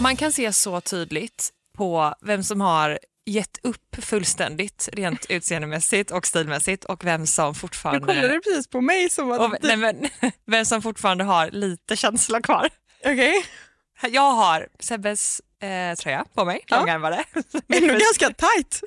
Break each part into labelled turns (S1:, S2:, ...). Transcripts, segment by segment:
S1: Man kan se så tydligt på vem som har gett upp fullständigt rent utseendemässigt och stilmässigt och vem som
S2: Du
S1: fortfarande
S2: kollade precis på mig som att...
S1: och, nej, men, vem som fortfarande har lite känsla kvar.
S2: Okej,
S1: Jag har Sebbes eh, tröja på mig,
S2: Ja.
S1: långärmade.
S2: ändå ganska tight.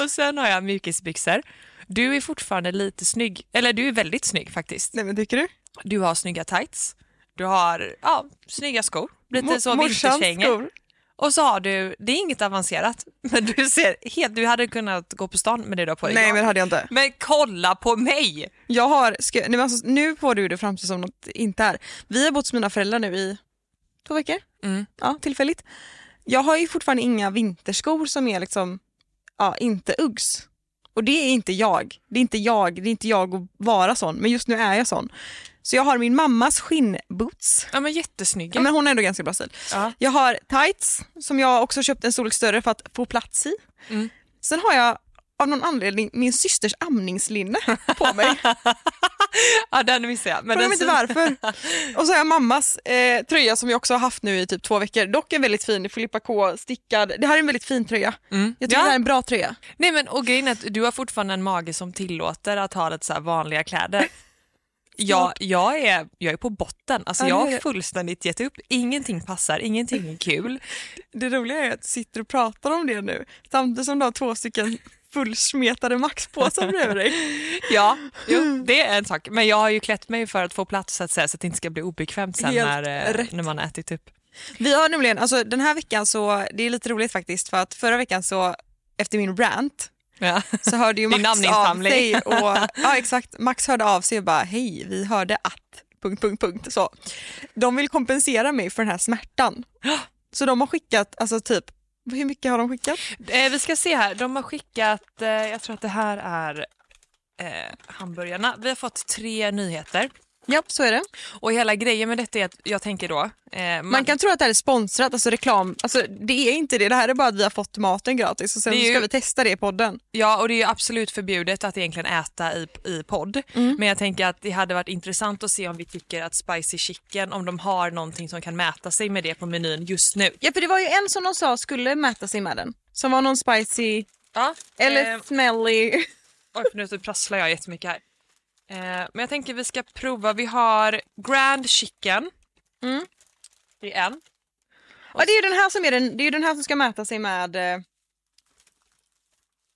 S1: och sen har jag mjukisbyxor. Du är fortfarande lite snygg, eller du är väldigt snygg faktiskt.
S2: Nej men tycker du?
S1: Du har snygga tights, du har ja, snygga skor, lite
S2: Mo-
S1: så
S2: morsans
S1: vinterkängor.
S2: skor.
S1: Och så har du, det är inget avancerat, men du ser helt, du hade kunnat gå på stan med det du har på dig
S2: Nej
S1: idag.
S2: men det hade jag inte.
S1: Men kolla på mig!
S2: Jag har, ska, nej, men alltså, nu får du det framstå som något inte är. Vi har bott hos mina föräldrar nu i två veckor.
S1: Mm.
S2: Ja, tillfälligt. Jag har ju fortfarande inga vinterskor som är liksom, ja, inte Uggs. Och det är inte jag. Det är inte jag, det är inte jag att vara sån, men just nu är jag sån. Så jag har min mammas skinnboots.
S1: Ja men jättesnygga.
S2: Ja, men hon är ändå ganska bra stil.
S1: Ja.
S2: Jag har tights som jag också köpt en storlek större för att få plats i.
S1: Mm.
S2: Sen har jag av någon anledning min systers amningslinne på mig.
S1: ja den missade jag. Men alltså-
S2: Fråga
S1: den
S2: mig
S1: syns-
S2: inte varför. Och så har jag mammas eh, tröja som jag också har haft nu i typ två veckor. Dock en väldigt fin Filippa K stickad. Det här är en väldigt fin tröja.
S1: Mm.
S2: Jag tycker det här
S1: Ja.
S2: är en bra tröja.
S1: Nej men och grejen är att du har fortfarande en mage som tillåter att ha lite så här vanliga kläder. Jag, jag, är, jag är på botten, alltså
S2: Ja,
S1: jag
S2: det är
S1: har
S2: det.
S1: fullständigt gett upp. Ingenting passar, ingenting är kul.
S2: Det roliga är att du sitter och pratar om det nu samtidigt som du har två stycken fullsmetade maxpåsar bredvid dig.
S1: Ja, jo, det är en sak. Men jag har ju klätt mig för att få plats så att, säga, så att det inte ska bli obekvämt sen
S2: Helt
S1: när, eh,
S2: rätt.
S1: när man har ätit upp.
S2: Vi har nämligen, alltså den här veckan så, det är lite roligt faktiskt för att förra veckan så efter min rant
S1: Ja.
S2: så hörde ju
S1: Din
S2: Max av
S1: namninsamling.
S2: sig och, ja exakt, Max hörde av sig och bara hej vi hörde att punkt, punkt, punkt så. De vill kompensera mig för den här smärtan. Så de har skickat, alltså typ, hur mycket har de skickat?
S1: Eh, vi ska se här, de har skickat, eh, jag tror att det här är eh, hamburgarna. Vi har fått tre nyheter
S2: Japp, så är det.
S1: och hela grejen med detta är att jag tänker då, eh, man,
S2: Man kan tro att det här är sponsrat, alltså reklam, alltså det är inte det, det här är bara att vi har fått maten gratis och sen
S1: Det är ju-
S2: ska vi testa det i podden.
S1: ja och det är ju absolut förbjudet att egentligen äta i, i podd,
S2: Mm.
S1: men jag tänker att det hade varit intressant att se om vi tycker att spicy chicken, om de har någonting som kan mäta sig med det på menyn just nu.
S2: Ja för det var ju en som de sa skulle mäta sig med den, som var någon spicy
S1: Ja,
S2: eller
S1: eh,
S2: smelly.
S1: Oj, för nu prasslar jag jättemycket här. Eh, men jag tänker vi ska prova. Vi har Grand Chicken.
S2: Mm.
S1: Det är en.
S2: Ja, det är ju den här som, är den, det är ju den här som ska mäta sig med, eh,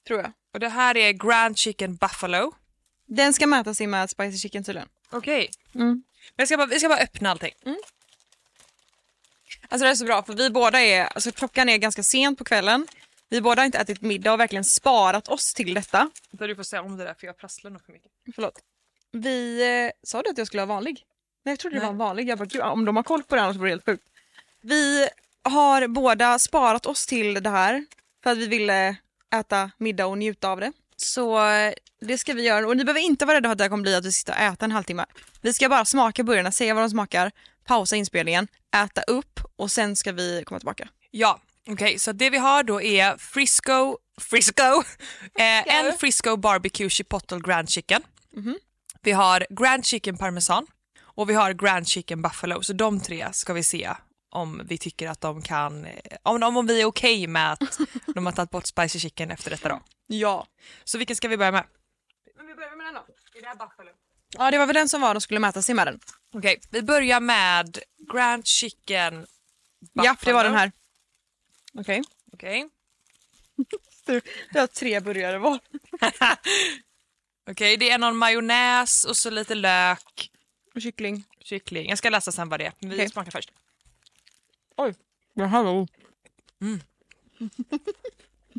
S2: tror jag.
S1: Och det här är Grand Chicken Buffalo.
S2: Den ska mäta sig med spicy chicken tydligen.
S1: Okej. Mm.
S2: Mm.
S1: Vi ska, bara, vi ska bara öppna allting.
S2: Alltså det här är så bra för vi båda är, alltså klockan är ganska sent på kvällen. Vi båda har inte ätit middag och verkligen sparat oss till detta.
S1: Vänta, Du får säga om det där för jag prasslar nog för mycket.
S2: Förlåt. Vi, eh, sa du att jag skulle vara vanlig? Nej jag trodde du
S1: Nej.
S2: var vanlig. Jag bara, Gud, om de har koll på det här så blir det helt sjukt. Vi har båda sparat oss till det här för att vi ville äta middag och njuta av det. Så eh, det ska vi göra och ni behöver inte vara rädda för att det här kommer bli att vi sitter och äter en halvtimme. Vi ska bara smaka burgarna, säga vad de smakar, pausa inspelningen, äta upp och sen ska vi komma tillbaka.
S1: Ja, okej. Så det vi har då är Frisco, Frisco, eh, en Frisco Barbecue Chipotle Grand Chicken. Vi har Grand Chicken Parmesan och vi har Grand Chicken Buffalo. Så de tre ska vi se om vi tycker att de kan, eh, om, om vi är okej med att de har tagit bort spicy chicken efter detta då.
S2: Ja.
S1: Så vilken ska vi börja med?
S2: Ja det var väl den som var de skulle mäta sig med den.
S1: Okej, vi börjar med Grand Chicken Buffalo.
S2: Ja det var den här. Okej.
S1: Okej,
S2: Du, du har tre burgare var.
S1: Okej, det är någon majonnäs och så lite lök.
S2: Och kyckling.
S1: kyckling. Jag ska läsa sen vad det är. men Vi
S2: Okej.
S1: smakar först.
S2: Oj. Ja, hallå. Mm.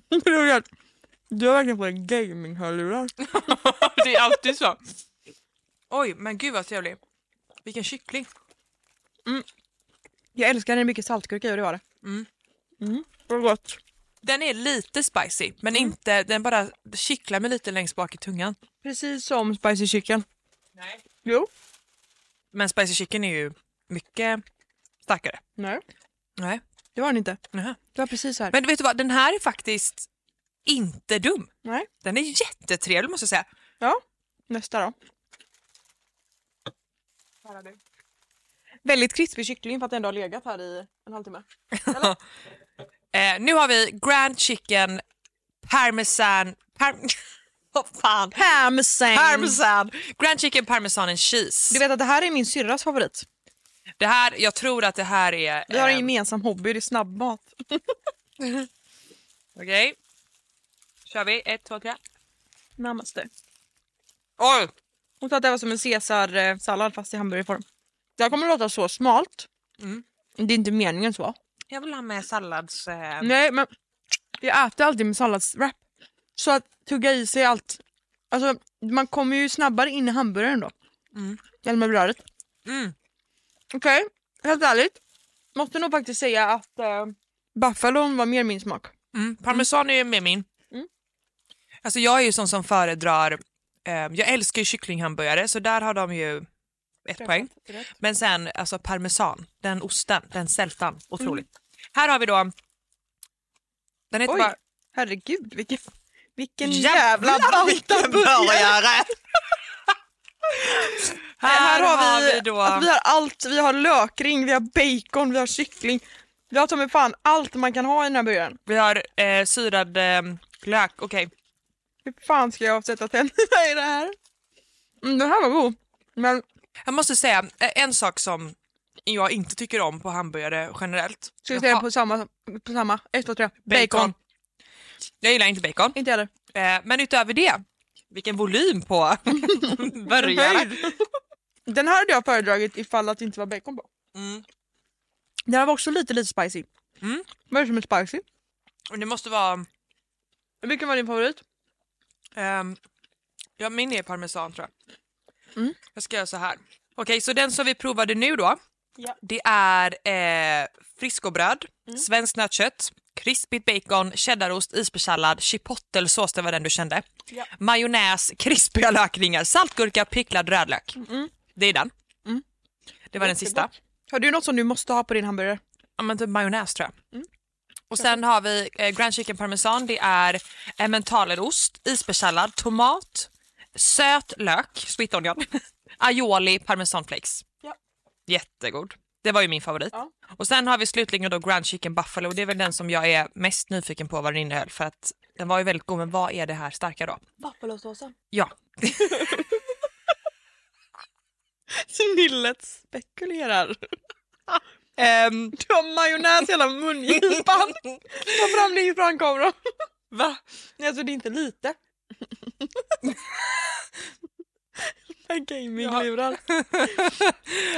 S2: det är roligt. Du har verkligen på dig gaming-hörlurar.
S1: det är alltid så. Oj, men gud vad trevlig. Vilken kyckling.
S2: Jag älskar när det är mycket saltgurka i och det var det. Mm. Så gott.
S1: Den är lite spicy, men inte, den bara kittlar mig lite längst bak i tungan.
S2: Precis som spicy chicken.
S1: Nej.
S2: Jo.
S1: Men spicy chicken är ju mycket starkare.
S2: Nej.
S1: Nej.
S2: Det var den inte.
S1: Jaha.
S2: Det var precis så här.
S1: Men vet du vad, den här är faktiskt inte dum.
S2: Nej.
S1: Den är jättetrevlig måste jag säga.
S2: Ja. Nästa då. Väldigt krispig kyckling för att den ändå har legat här i en halvtimme.
S1: Eh, nu har vi Grand Chicken Parmesan... Par- Vad fan?
S2: Parmesan.
S1: Parmesan! Grand Chicken Parmesan and Cheese.
S2: Du vet att det här är min syrras favorit.
S1: Det här, jag tror att det här är...
S2: Vi har en
S1: eh,
S2: gemensam hobby, det är snabbmat.
S1: Okej. Kör vi. Ett, två, tre.
S2: Namaste.
S1: Oj!
S2: Hon sa att det här var som en caesarsallad fast i hamburgerform. Det här kommer att låta så smalt.
S1: Mm.
S2: Det är inte meningen så.
S1: Jag vill ha med sallads... Eh...
S2: Nej, men jag äter alltid med salladswrap. Så att tugga i sig allt. Alltså, man kommer ju snabbare in i hamburgaren då. Eller med brödet.
S1: Mm.
S2: Okej, helt ärligt. Måste nog faktiskt säga att eh, buffalon var mer min smak.
S1: Mm. Parmesan är ju med min.
S2: Mm.
S1: Alltså jag är ju sån som föredrar... Eh, jag älskar ju kycklinghamburgare så där har de ju ett poäng. Men sen alltså parmesan, den osten, den sältan. Otroligt. Här har vi då... Den heter
S2: Mm. Oj,
S1: bara...
S2: herregud vilken, vilken jävla bantaburgare!
S1: burgare!
S2: Här har vi,
S1: då...
S2: att vi har allt, vi har lökring, vi har bacon, vi har kyckling. Vi har ta mig fan allt man kan ha i den här burgaren.
S1: Vi har eh, syrad eh, lök, okej.
S2: Hur fan ska jag sätta tänderna i det här? Mm, den här var god. Men
S1: Jag måste säga eh, en sak som jag inte tycker om på hamburgare generellt.
S2: ska vi
S1: Jag
S2: säga
S1: har-
S2: på samma, på samma? Ett, två, tre. Bacon.
S1: bacon. Jag gillar inte bacon.
S2: Inte heller.
S1: Eh, men utöver det, vilken volym på burgare.
S2: Den här hade jag föredragit ifall att det inte var bacon på.
S1: Mm.
S2: Den här var också lite, lite spicy.
S1: Mm.
S2: Vad är det som är spicy?
S1: Det måste vara...
S2: Vilken var din favorit?
S1: ehm, ja, min är parmesan tror jag.
S2: Mm.
S1: Jag ska göra så här. Okej, så den som vi provade nu då.
S2: Ja. Mm.
S1: Det är eh, friskobröd, svenskt nötkött, krispigt bacon, cheddarost, isbergssallad, chipottelsås, det var den du kände.
S2: Ja.
S1: Majonnäs, krispiga lökringar, saltgurka, picklad rödlök.
S2: Mm.
S1: Det är den. Det var den sista.
S2: Har du något som du måste ha på din hamburgare?
S1: ja, men typ majonnäs tror jag.
S2: Mm.
S1: Och sen har vi eh, Grand Chicken Parmesan, det är emmentalerost, isbergssallad, tomat, söt lök, sweet onion, aioli, parmesanflakes.
S2: Ja.
S1: Jättegod. Det var ju min favorit.
S2: Ja.
S1: Och sen har vi slutligen då Grand Chicken Buffalo, det är väl den som jag är mest nyfiken på vad den innehöll för att den var ju väldigt god, men vad är det här starka då?
S2: Buffalosåsen.
S1: Ja,
S2: Snillet spekulerar.
S1: Ehm,
S2: Du har majonnäs i hela mungipan. Ta fram din framkamera.
S1: va?
S2: Nej, Alltså det är inte lite. En gaminglurar.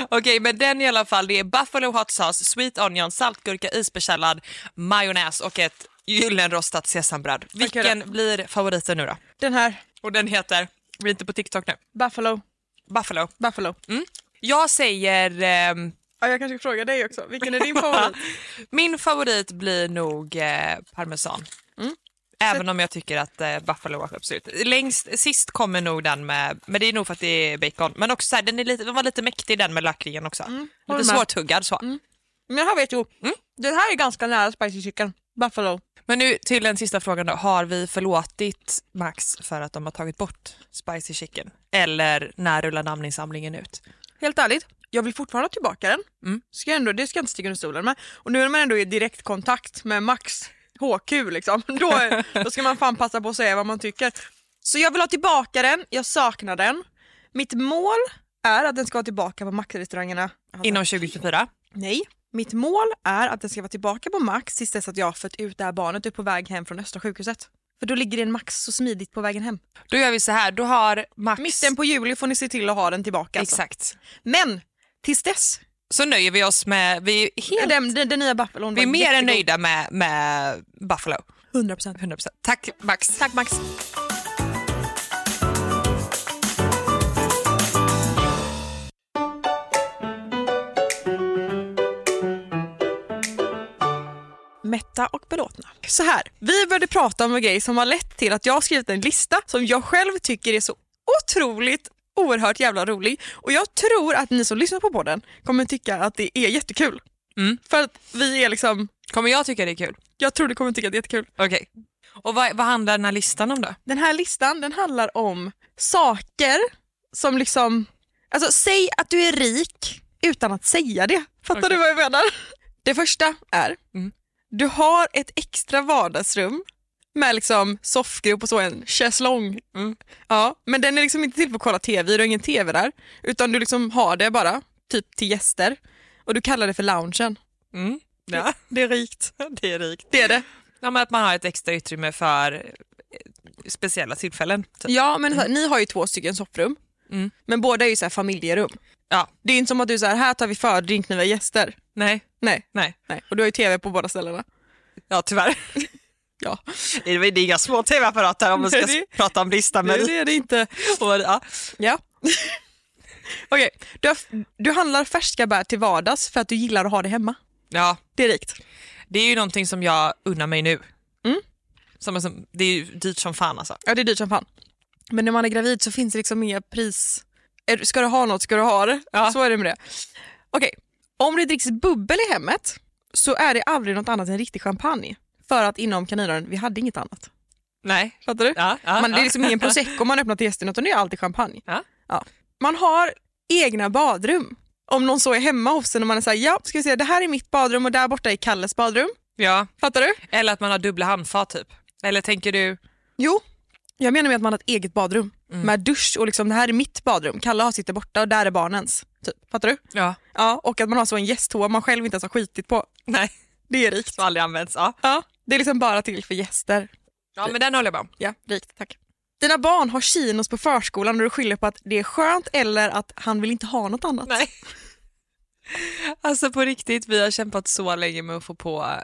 S1: Okej, men den i alla fall. Det är buffalo hot sauce, sweet onion, saltgurka, isbergssallad, majonnäs och ett gyllenrostat sesambröd. Vilken blir favoriten nu då?
S2: Den här,
S1: Och den heter, vi är inte på TikTok nu,
S2: Buffalo.
S1: Buffalo.
S2: Buffalo. Mm.
S1: Jag säger, ehm,
S2: Ja, jag kanske ska fråga dig också, vilken är din favorit?
S1: min favorit blir nog eh, parmesan. Även om jag tycker att eh, Buffalo var absolut. Längst, sist kommer nog den med, men det är nog för att det är bacon. Men också så här, den, är lite, den var lite mäktig den med lökringen också.
S2: håller
S1: Lite
S2: med.
S1: svårtuggad så.
S2: Men den här vet jag. Den här är ganska nära spicy chicken. Buffalo.
S1: Men nu till den sista frågan då. Har vi förlåtit Max för att de har tagit bort spicy chicken? Eller när rullar namninsamlingen ut?
S2: Helt ärligt, jag vill fortfarande ha tillbaka den.
S1: Mm.
S2: Ska jag ändå, det ska jag inte sticka under stolen med. Och nu när man ändå är i direktkontakt med Max HQ liksom, då, är- då ska man fan passa på att säga vad man tycker. Så jag vill ha tillbaka den, jag saknar den. Mitt mål är att den ska vara tillbaka på Max-restaurangerna. Alltså,
S1: Inom 2024?
S2: Nej, mitt mål är att den ska vara tillbaka på Max tills dess att jag har fött ut det här barnet och är på väg hem från Östra sjukhuset. För då ligger den Max så smidigt på vägen hem.
S1: Då gör vi så här, då har Max...
S2: Mitten på juli får ni se till att ha den tillbaka. Alltså.
S1: Exakt.
S2: Men tills dess
S1: Så nöjer vi oss med... Vi är, helt,
S2: Den, den, den nya Buffalon
S1: vi är
S2: var
S1: mer än
S2: jättegod.
S1: nöjda med, med Buffalo.
S2: 100%.
S1: 100%. Tack Max.
S2: Tack Max. mätta och belåtna. Så här, vi började prata om en grej som har lett till att jag har skrivit en lista som jag själv tycker är så otroligt oerhört jävla rolig och jag tror att ni som lyssnar på podden kommer tycka att det är jättekul.
S1: Mm.
S2: För att vi är liksom,
S1: Kommer jag tycka det är kul?
S2: jag tror ni kommer tycka att det är jättekul.
S1: Okej. Och vad, vad handlar den här listan om då?
S2: Den här listan den handlar om saker som liksom... Alltså säg att du är rik utan att säga det. Fattar
S1: Okej.
S2: du vad jag menar? Det första är,
S1: Mm.
S2: du har ett extra vardagsrum med liksom soffgrupp och så, en schäslong.
S1: Mm.
S2: Ja, men den är liksom inte till för att kolla tv, du har ingen tv där. Utan du liksom har det bara, typ till gäster. Och du kallar det för loungen.
S1: Mm. Ja, det är rikt. Det är rikt.
S2: Det är det.
S1: Ja, men att man har ett extra utrymme för eh, speciella tillfällen. Typ.
S2: Ja, men så här, ni har ju två stycken soffrum.
S1: Mm.
S2: Men båda är ju så här familjerum.
S1: Ja.
S2: Det är ju inte som att du säger här tar vi fördrink när vi har gäster.
S1: Nej,
S2: Nej.
S1: nej.
S2: Nej. Och du har ju tv på båda ställena.
S1: Ja, tyvärr.
S2: Ja.
S1: Det är inga små tv-apparater om man ska
S2: Nej,
S1: prata om listan. Men...
S2: Nej, det är det inte.
S1: Och, ja.
S2: Ja. Okej, du, har- du handlar färska bär till vardags för att du gillar att ha det hemma.
S1: ja,
S2: Det är rikt.
S1: det är ju någonting som jag unnar mig nu. Mm. Som, som, det är ju dyrt som fan alltså.
S2: Ja, det är dyrt som fan. Men när man är gravid så finns det liksom inga pris. Är du- Ska du ha något ska du ha det.
S1: Ja.
S2: Så är det med det. Okej, om det dricks bubbel i hemmet så är det aldrig något annat än riktig champagne. För att inom kaninöron, vi hade inget annat.
S1: Nej.
S2: Fattar du?
S1: Ja, ja,
S2: Man, det
S1: ja.
S2: är liksom ingen prosecco man öppnar till gästerna utan det är alltid champagne.
S1: Ja.
S2: Man har egna badrum. Om någon så är hemma hos en och man är såhär, ja ska vi se det här är mitt badrum och där borta är Kalles badrum.
S1: Ja.
S2: Fattar du?
S1: Eller att man har dubbla handfat typ. Eller tänker du,
S2: Jo, jag menar med att man har ett eget badrum med dusch och liksom det här är mitt badrum. Kalle har sitt där borta och där är barnens. Typ. Fattar du?
S1: ja,
S2: Ja, och att man har så en gästtoa man själv inte ens har skitit på.
S1: nej,
S2: Det är rikt.
S1: som aldrig används. Ja,
S2: Ja, det är liksom bara till för gäster.
S1: ja men den håller jag med om.
S2: Ja, rikt. Tack. Dina barn har chinos på förskolan och du skyller på att det är skönt eller att han vill inte ha något annat.
S1: Nej. Alltså på riktigt, vi har kämpat så länge med att få på eh,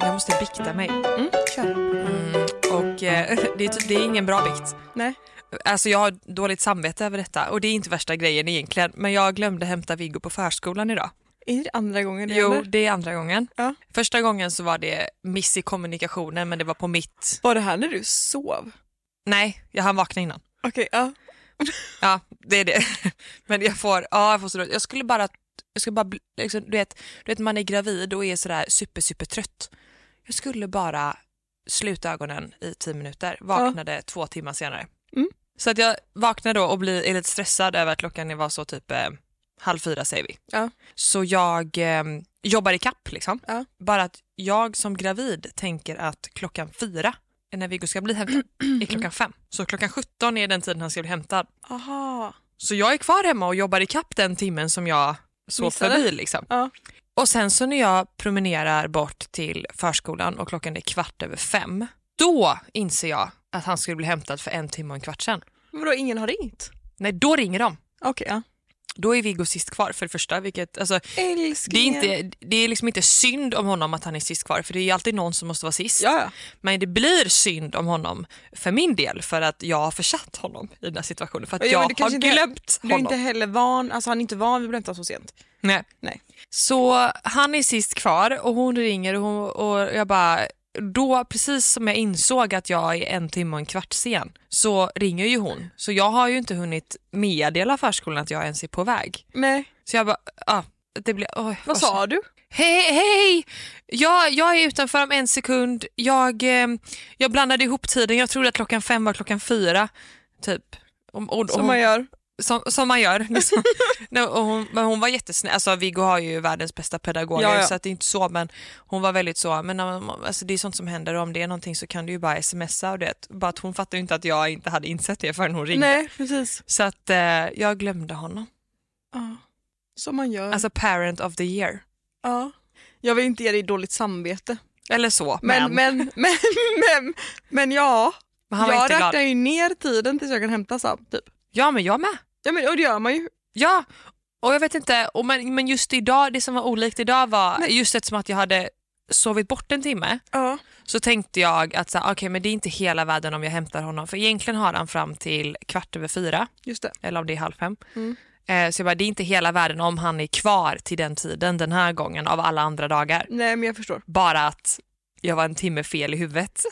S1: Jag måste bikta mig. Och eh, det, är, typ- det är ingen bra bikt.
S2: Nej.
S1: Alltså jag har dåligt samvete över detta och det är inte värsta grejen egentligen men jag glömde hämta Viggo på förskolan idag.
S2: Är det andra gången det
S1: Jo,
S2: händer?
S1: det är andra gången.
S2: Ja.
S1: Första gången så var det miss i kommunikationen men det var på mitt...
S2: Var det här när du sov?
S1: Nej, jag hann vakna innan.
S2: Okej, ja.
S1: Ja, det är det. Men jag får, ja, jag får så dåligt. Jag skulle bara, jag skulle bara bli- liksom, du, vet, du vet man är gravid och är sådär super, super trött. Jag skulle bara sluta ögonen i tio minuter, vaknade två timmar senare.
S2: Mm.
S1: Så att jag vaknar då och blir är lite stressad över att klockan var så typ eh, halv fyra säger vi.
S2: Ja.
S1: Så jag eh, jobbar i kapp liksom.
S2: Ja.
S1: Bara att jag som gravid tänker att klockan fyra är när Viggo ska bli hämtad, är klockan fem. Så klockan 17 är den tiden han ska bli hämtad.
S2: Aha.
S1: Så jag är kvar hemma och jobbar ikapp den timmen som jag sov
S2: Missade.
S1: förbi. Liksom.
S2: Ja.
S1: Och sen så när jag promenerar bort till förskolan och klockan är kvart över fem, då inser jag att han skulle bli hämtad för en timme och en kvart sen.
S2: Vadå, ingen har ringt?
S1: Nej, då ringer de.
S2: Okej, ja.
S1: Då är Viggo sist kvar för det första. Vilket, alltså, det, är
S2: Älskling.
S1: inte, det är liksom inte synd om honom att han är sist kvar för det är ju alltid någon som måste vara sist.
S2: Ja, ja.
S1: Men det blir synd om honom för min del för att jag har försatt honom i den här situationen. För att
S2: Jo,
S1: jag
S2: men du
S1: har
S2: kanske inte-
S1: glömt
S2: Du är
S1: honom.
S2: inte heller van, alltså han är inte van vid att blänta så sent.
S1: Nej.
S2: Nej.
S1: Så han är sist kvar och hon ringer och, hon, och jag bara, då precis som jag insåg att jag är en timme och en kvart sen så ringer ju hon. Så jag har ju inte hunnit meddela förskolan att jag ens är på väg.
S2: Nej.
S1: Så jag bara, ah, det blir, oj, alltså.
S2: Vad sa du?
S1: Hej, hej! Jag, jag är utanför om en sekund. Jag, eh, jag blandade ihop tiden. Jag trodde att klockan fem var klockan fyra. Typ. Och, och,
S2: Som man gör.
S1: som, som man gör. Liksom. Nej, och hon, men hon var jättesnäll. Alltså, Viggo har ju världens bästa pedagoger
S2: Ja, ja.
S1: så att det är inte så men hon var väldigt så, men när man- alltså, det är sånt som händer och om det är någonting så kan du ju bara smsa och det. Bara att hon fattar ju inte att jag inte hade insett det förrän hon ringde.
S2: Nej, precis.
S1: Så att eh, jag glömde honom.
S2: Ja. Som man gör.
S1: Alltså parent of the year.
S2: ja. Jag vill inte ge dig dåligt samvete.
S1: Eller så,
S2: Men,
S1: men,
S2: men, men, men, men, ja.
S1: Men han var
S2: jag
S1: inte glad.
S2: räknar ju ner tiden tills jag kan hämta Sam, typ.
S1: Ja men jag med.
S2: Ja, men, och det gör man ju.
S1: Ja, och jag vet inte, och men, men just idag, det som var olikt idag var just eftersom att jag hade sovit bort en timme
S2: Ja.
S1: så tänkte jag att så här, okej, men det är inte hela världen om jag hämtar honom för egentligen har han fram till kvart över fyra
S2: Just det.
S1: eller om det är halv fem. Eh, så jag bara, det är inte hela världen om han är kvar till den tiden den här gången av alla andra dagar.
S2: Nej, men jag förstår.
S1: Bara att jag var en timme fel i huvudet.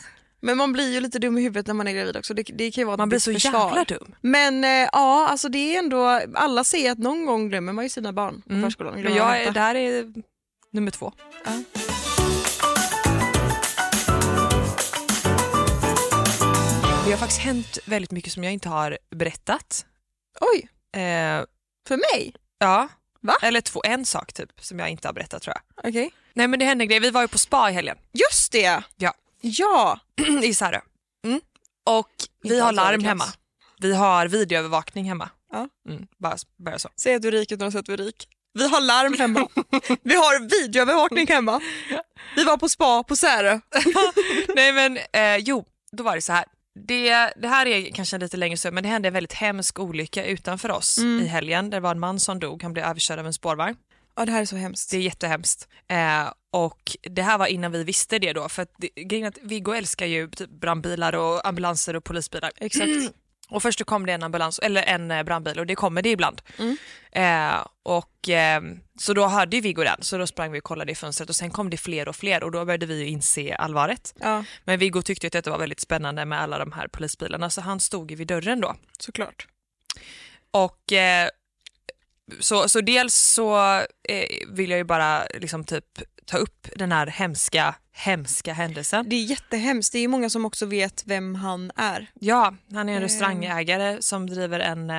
S2: Men man blir ju lite dum i huvudet när man är gravid också. Det, det kan ju vara ett
S1: Man blir
S2: ditt
S1: så
S2: försvar.
S1: jävla dum.
S2: Men eh, ja, alltså det är ändå, alla säger att någon gång glömmer man ju sina barn på förskolan.
S1: Men
S2: Glömmer
S1: jag,
S2: att hämta.
S1: är- det här är nummer två. Det har faktiskt hänt väldigt mycket som jag inte har berättat.
S2: Oj,
S1: Eh,
S2: för mig?
S1: ja.
S2: Va?
S1: Eller två, en sak typ som jag inte har berättat tror jag.
S2: Okej.
S1: Nej men det hände grejer. Vi var ju på spa i helgen
S2: Just det!
S1: Ja.
S2: Ja!
S1: i Särö. Mm. Och vi
S2: Inte
S1: har
S2: alls
S1: larm
S2: överklass.
S1: hemma. Vi har videoövervakning hemma.
S2: Ja.
S1: Mm, bara, bara så.
S2: Säg att du är rik utan att säga att du är rik. Vi har larm hemma. Vi har videoövervakning hemma. Vi var på spa på Särö.
S1: Nej men eh, jo, då var det så här. Det, det här är kanske en lite längre sömn men det hände en väldigt hemsk olycka utanför oss
S2: Mm.
S1: i helgen. Det var en man som dog, han blev överkörd av en spårvagn.
S2: Ja, det här är så hemskt.
S1: Det är jättehemskt. Eh, och det här var innan vi visste det då för att det, grejen är att Viggo älskar ju typ brandbilar och ambulanser och polisbilar.
S2: Exakt.
S1: Och först så kom det en ambulans eller en eh, brandbil och det kommer det ibland.
S2: Mm.
S1: Eh, och, eh, så då hörde ju Viggo den så då sprang vi och kollade i fönstret och sen kom det fler och fler och då började vi ju inse allvaret.
S2: Ja,
S1: Men Viggo tyckte ju att det var väldigt spännande med alla de här polisbilarna så han stod ju vid dörren då.
S2: såklart.
S1: Och eh, så, så dels så eh, vill jag ju bara liksom typ ta upp den här hemska, hemska händelsen.
S2: Det är jättehemskt. Det är många som också vet vem han är.
S1: Ja, han är
S2: Eh.
S1: en restaurangägare som driver en, eh,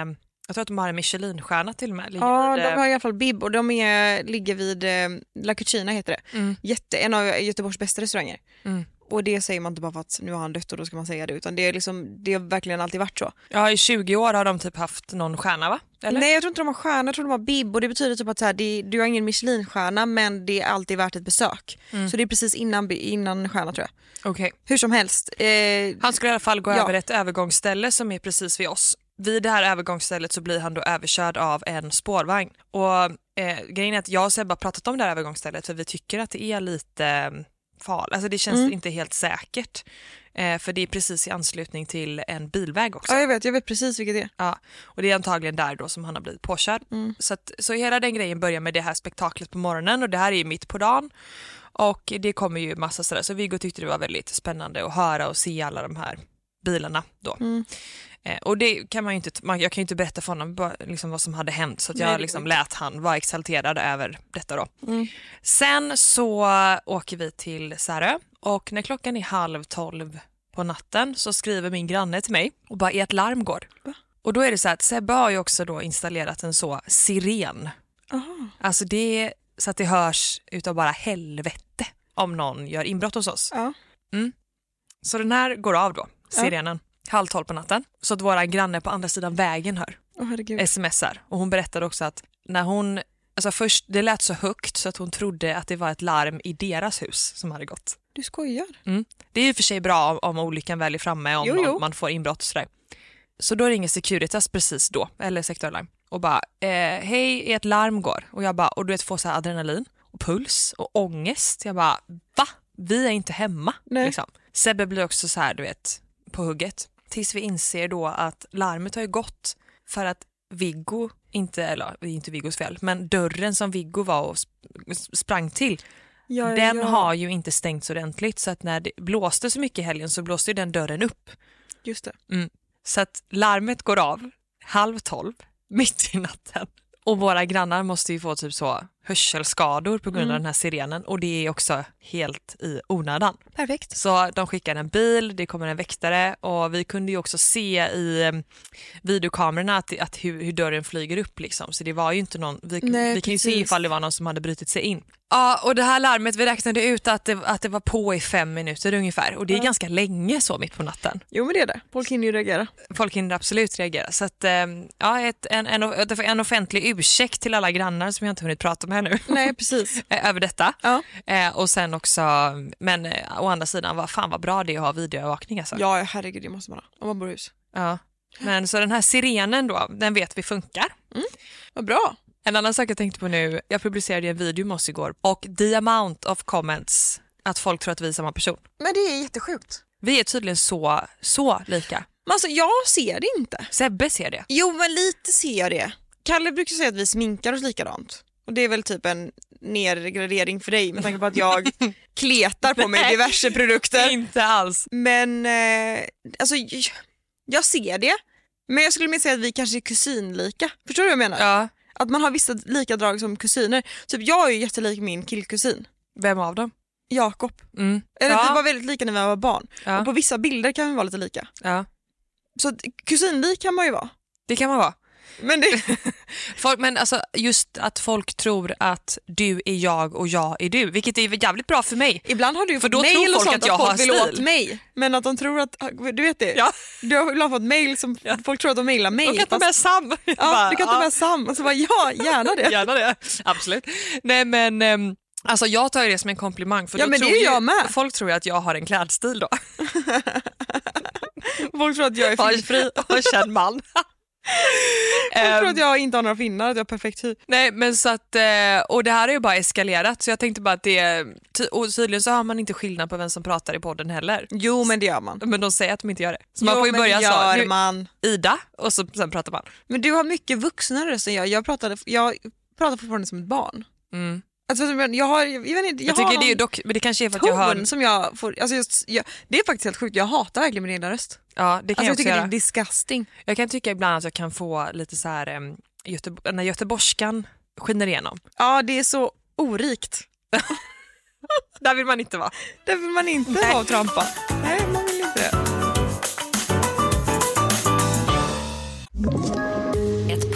S1: jag tror att de har en Michelinstjärna till och med. ligger
S2: Ja,
S1: vid,
S2: de
S1: eh,
S2: har i alla fall bib och de är, ligger vid eh, La Cucina heter det.
S1: Mm.
S2: Jätte, en av Göteborgs bästa restauranger. Och det säger man inte bara för att nu har han dött och då ska man säga det utan det, är liksom, det har verkligen alltid varit så.
S1: Ja, i 20 år har de typ haft någon stjärna va? Eller?
S2: Nej jag tror inte de har stjärna, jag tror de har bib och det betyder typ att så här, det, du har ingen Michelinstjärna men det är alltid värt ett besök.
S1: Mm.
S2: Så det är precis innan, bi- innan stjärna tror jag.
S1: Okej.
S2: Hur som helst. Eh,
S1: Han skulle i alla fall gå
S2: Ja.
S1: över ett övergångsställe som är precis vid oss. Vid det här övergångsstället så blir han då överkörd av en spårvagn. Och eh, grejen är att jag och Sebbe har pratat om det här övergångsstället för vi tycker att det är lite eh, farligt. Alltså det känns
S2: Mm.
S1: inte helt säkert. Eh, för det är precis i anslutning till en bilväg också.
S2: ja jag vet, jag vet precis vilket det är.
S1: Ja, och det är antagligen där då som han har blivit påkörd.
S2: Mm.
S1: Så, att, så hela den grejen börjar med det här spektaklet på morgonen och det här är ju mitt på dagen. Och det kommer ju massa sådär, så Viggo tyckte det var väldigt spännande att höra och se alla de här bilarna då. Eh, och det kan man ju inte, man, jag kan ju inte berätta för honom bara, liksom, vad som hade hänt så att jag liksom lät han vara exalterad över detta då. Sen så åker vi till Särö och när klockan är halv tolv på natten så skriver min granne till mig och bara ert larm går. Och då är det så här att Sebbe har ju också då installerat en så siren. Alltså det är så att det hörs utav bara helvete om någon gör inbrott hos oss.
S2: Ja.
S1: Mm. Så den här går av då, sirenen, halv tolv på natten. Så att våra granne på andra sidan vägen hör
S2: Åh herregud.
S1: smsar och hon berättade också att när hon, alltså först det lät så högt så att hon trodde att det var ett larm i deras hus som hade gått.
S2: Du skojar?
S1: Mm. Det är ju för sig bra om, om olyckan väl är framme, om
S2: Jo,
S1: någon-
S2: jo.
S1: man får inbrott och sådär. Så då ringer Securitas precis då, eller sektorlarm. och bara eh, hej, ert larm går. Och jag bara, och du vet får så här adrenalin och puls och ångest. Jag bara va? Vi är inte hemma.
S2: Nej.
S1: Liksom. Sebbe blir också så här du vet på hugget. Tills vi inser då att larmet har ju gått för att Viggo, inte, eller det är inte Viggos fel, men dörren som Viggo var och sp- sprang till
S2: Ja, ja,
S1: den
S2: ja.
S1: har ju inte stängts ordentligt så att när det blåste så mycket i helgen så blåste ju den dörren upp.
S2: Just det.
S1: Så att larmet går av halv tolv, mitt i natten. Och våra grannar måste ju få typ så hörselskador på grund
S2: Mm.
S1: av den här sirenen och det är också helt i onödan.
S2: Perfekt.
S1: Så de skickar en bil, det kommer en väktare och vi kunde ju också se i eh, videokamerorna att, att hur, hur dörren flyger upp liksom. Så det var ju inte någon, vi,
S2: Nej,
S1: vi kan ju se
S2: precis.
S1: ifall det var någon som hade brutit sig in. Ja och det här larmet, vi räknade ut att det, att det var på i fem minuter ungefär och det är ganska länge så mitt på natten.
S2: Jo men det är det. Folk hinner ju reagera.
S1: Folk hinner absolut reagera. Så att, eh, ja, ett, en, en, en offentlig ursäkt till alla grannar som jag inte hunnit prata med nu.
S2: Nej precis.
S1: Eh, över detta.
S2: Ja.
S1: Eh, och sen också, men eh, å andra sidan, vad fan vad bra det är att ha videoövervakning alltså.
S2: Ja herregud det måste man ha om man bor i hus.
S1: Ja. Men så den här sirenen då, den vet vi funkar.
S2: Vad bra.
S1: En annan sak jag tänkte på nu, jag publicerade ju en video med oss igår och the amount of comments att folk tror att vi är samma person.
S2: Men det är jättesjukt.
S1: Vi är tydligen så, så lika.
S2: Men alltså jag ser det inte.
S1: Sebbe ser det.
S2: Jo men lite ser jag det. Kalle brukar säga att vi sminkar oss likadant. Och det är väl typ en nedgradering för dig med tanke på att jag kletar på mig
S1: Nej.
S2: diverse produkter.
S1: Inte alls.
S2: Men eh, alltså j- jag ser det. Men jag skulle mer säga att vi kanske är kusinlika. Förstår du vad jag menar?
S1: Ja.
S2: Att man har vissa lika drag som kusiner. Typ jag är ju jättelik min killkusin
S1: Vem av dem?
S2: Jakob.
S1: Mm.
S2: Eller
S1: ja.
S2: vi var väldigt lika när vi var barn.
S1: Ja.
S2: Och på vissa bilder kan vi vara lite lika.
S1: ja.
S2: Så att kusinlik kan man ju vara.
S1: Det kan man vara.
S2: Men det,
S1: Folk, men alltså, just att folk tror att du är jag och jag är du, vilket är jävligt bra för mig.
S2: ibland har du ju
S1: För
S2: fått
S1: då tror
S2: mail och
S1: folk
S2: sånt
S1: att jag har
S2: folk vill
S1: stil.
S2: åt mig. Men att de tror att, du vet det?
S1: Ja.
S2: Du har ibland fått mail som folk tror att de mailar mig.
S1: Du kan ta
S2: Fast-
S1: med Sam.
S2: ja,
S1: Bara,
S2: du kan ta
S1: ja.
S2: med Sam. Och så bara ja, gärna det.
S1: Gärna det. Absolut. Nej men ehm, alltså jag tar ju det som en komplimang för
S2: Ja,
S1: då
S2: men det
S1: tror
S2: är ju
S1: ju-
S2: jag med.
S1: folk tror ju att jag har en klädstil då.
S2: Folk tror att jag är fin.
S1: Fri och känd man.
S2: Folk tror
S1: Ehm,
S2: att jag inte har några finnar, att jag har perfekt hy.
S1: Nej men så att, eh, och det här har ju bara eskalerat så jag tänkte bara att det, är- ty- och tydligen så har man inte skillnad på vem som pratar i podden heller.
S2: Jo men det gör man.
S1: Men de säger att de inte gör det. Så man
S2: jo,
S1: får ju
S2: men
S1: börja
S2: det gör
S1: så, nu,
S2: man.
S1: Ida och så, sen pratar man.
S2: Men du har mycket vuxnare röst än jag. Jag pratade, jag pratar fortfarande som ett barn.
S1: Mm.
S2: Alltså, jag, jag, har, jag, vet inte, jag,
S1: Jag,
S2: har
S1: tycker det är
S2: någon
S1: dock, men det kanske är för att
S2: ton
S1: jag har,
S2: som jag får... Alltså, just, jag, det är faktiskt helt sjukt, jag hatar verkligen min egna röst.
S1: ja det kan
S2: Alltså, jag,
S1: jag också
S2: tycker
S1: göra.
S2: det är disgusting.
S1: Jag kan tycka ibland att jag kan få lite så här, em, Göte- när göteborgskan skiner igenom.
S2: Ja, det är så orikt.
S1: Där vill man inte vara.
S2: Det vill man inte ha och trampa. Nej, man vill inte det.
S3: Ett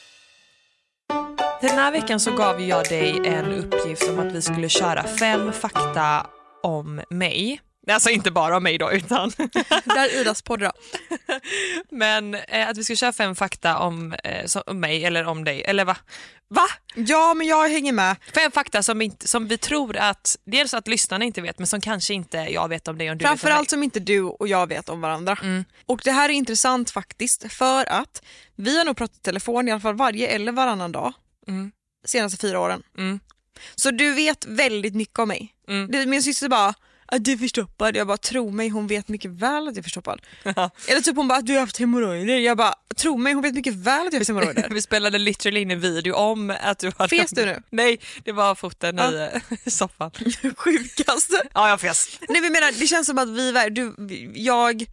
S1: Den här veckan så gav jag dig en uppgift om att vi skulle köra fem fakta om mig. Alltså inte bara om mig då utan
S2: Där Idas podd då.
S1: men eh, att vi ska köra fem fakta om, eh, som, om mig eller om dig eller va? Va?
S2: Ja, men jag hänger med.
S1: Fem fakta som, inte, som vi tror att dels att lyssnarna inte vet men som kanske inte jag vet om dig och du vet om mig. Mm.
S2: Framförallt som inte du och jag vet om varandra. Och det här är intressant faktiskt för att vi har nog pratat i telefon i alla fall varje eller varannan dag senaste fyra åren.
S1: Mm.
S2: Så du vet väldigt mycket om mig.
S1: Mm.
S2: Det- Min syster bara att du är förstoppad. Jag bara tro mig hon vet mycket väl att jag är förstoppad. Eller typ hon bara att du har haft hemorrojder. Jag bara tro mig hon vet mycket väl att jag har haft hemorrojder.
S1: Vi spelade literally in en video om att du hade...
S2: Fes du nu?
S1: Nej, det var foten i eh, soffan.
S2: Sjukaste.
S1: Ja, jag fes.
S2: Nej men jag menar det känns som att vi, ver- du, jag,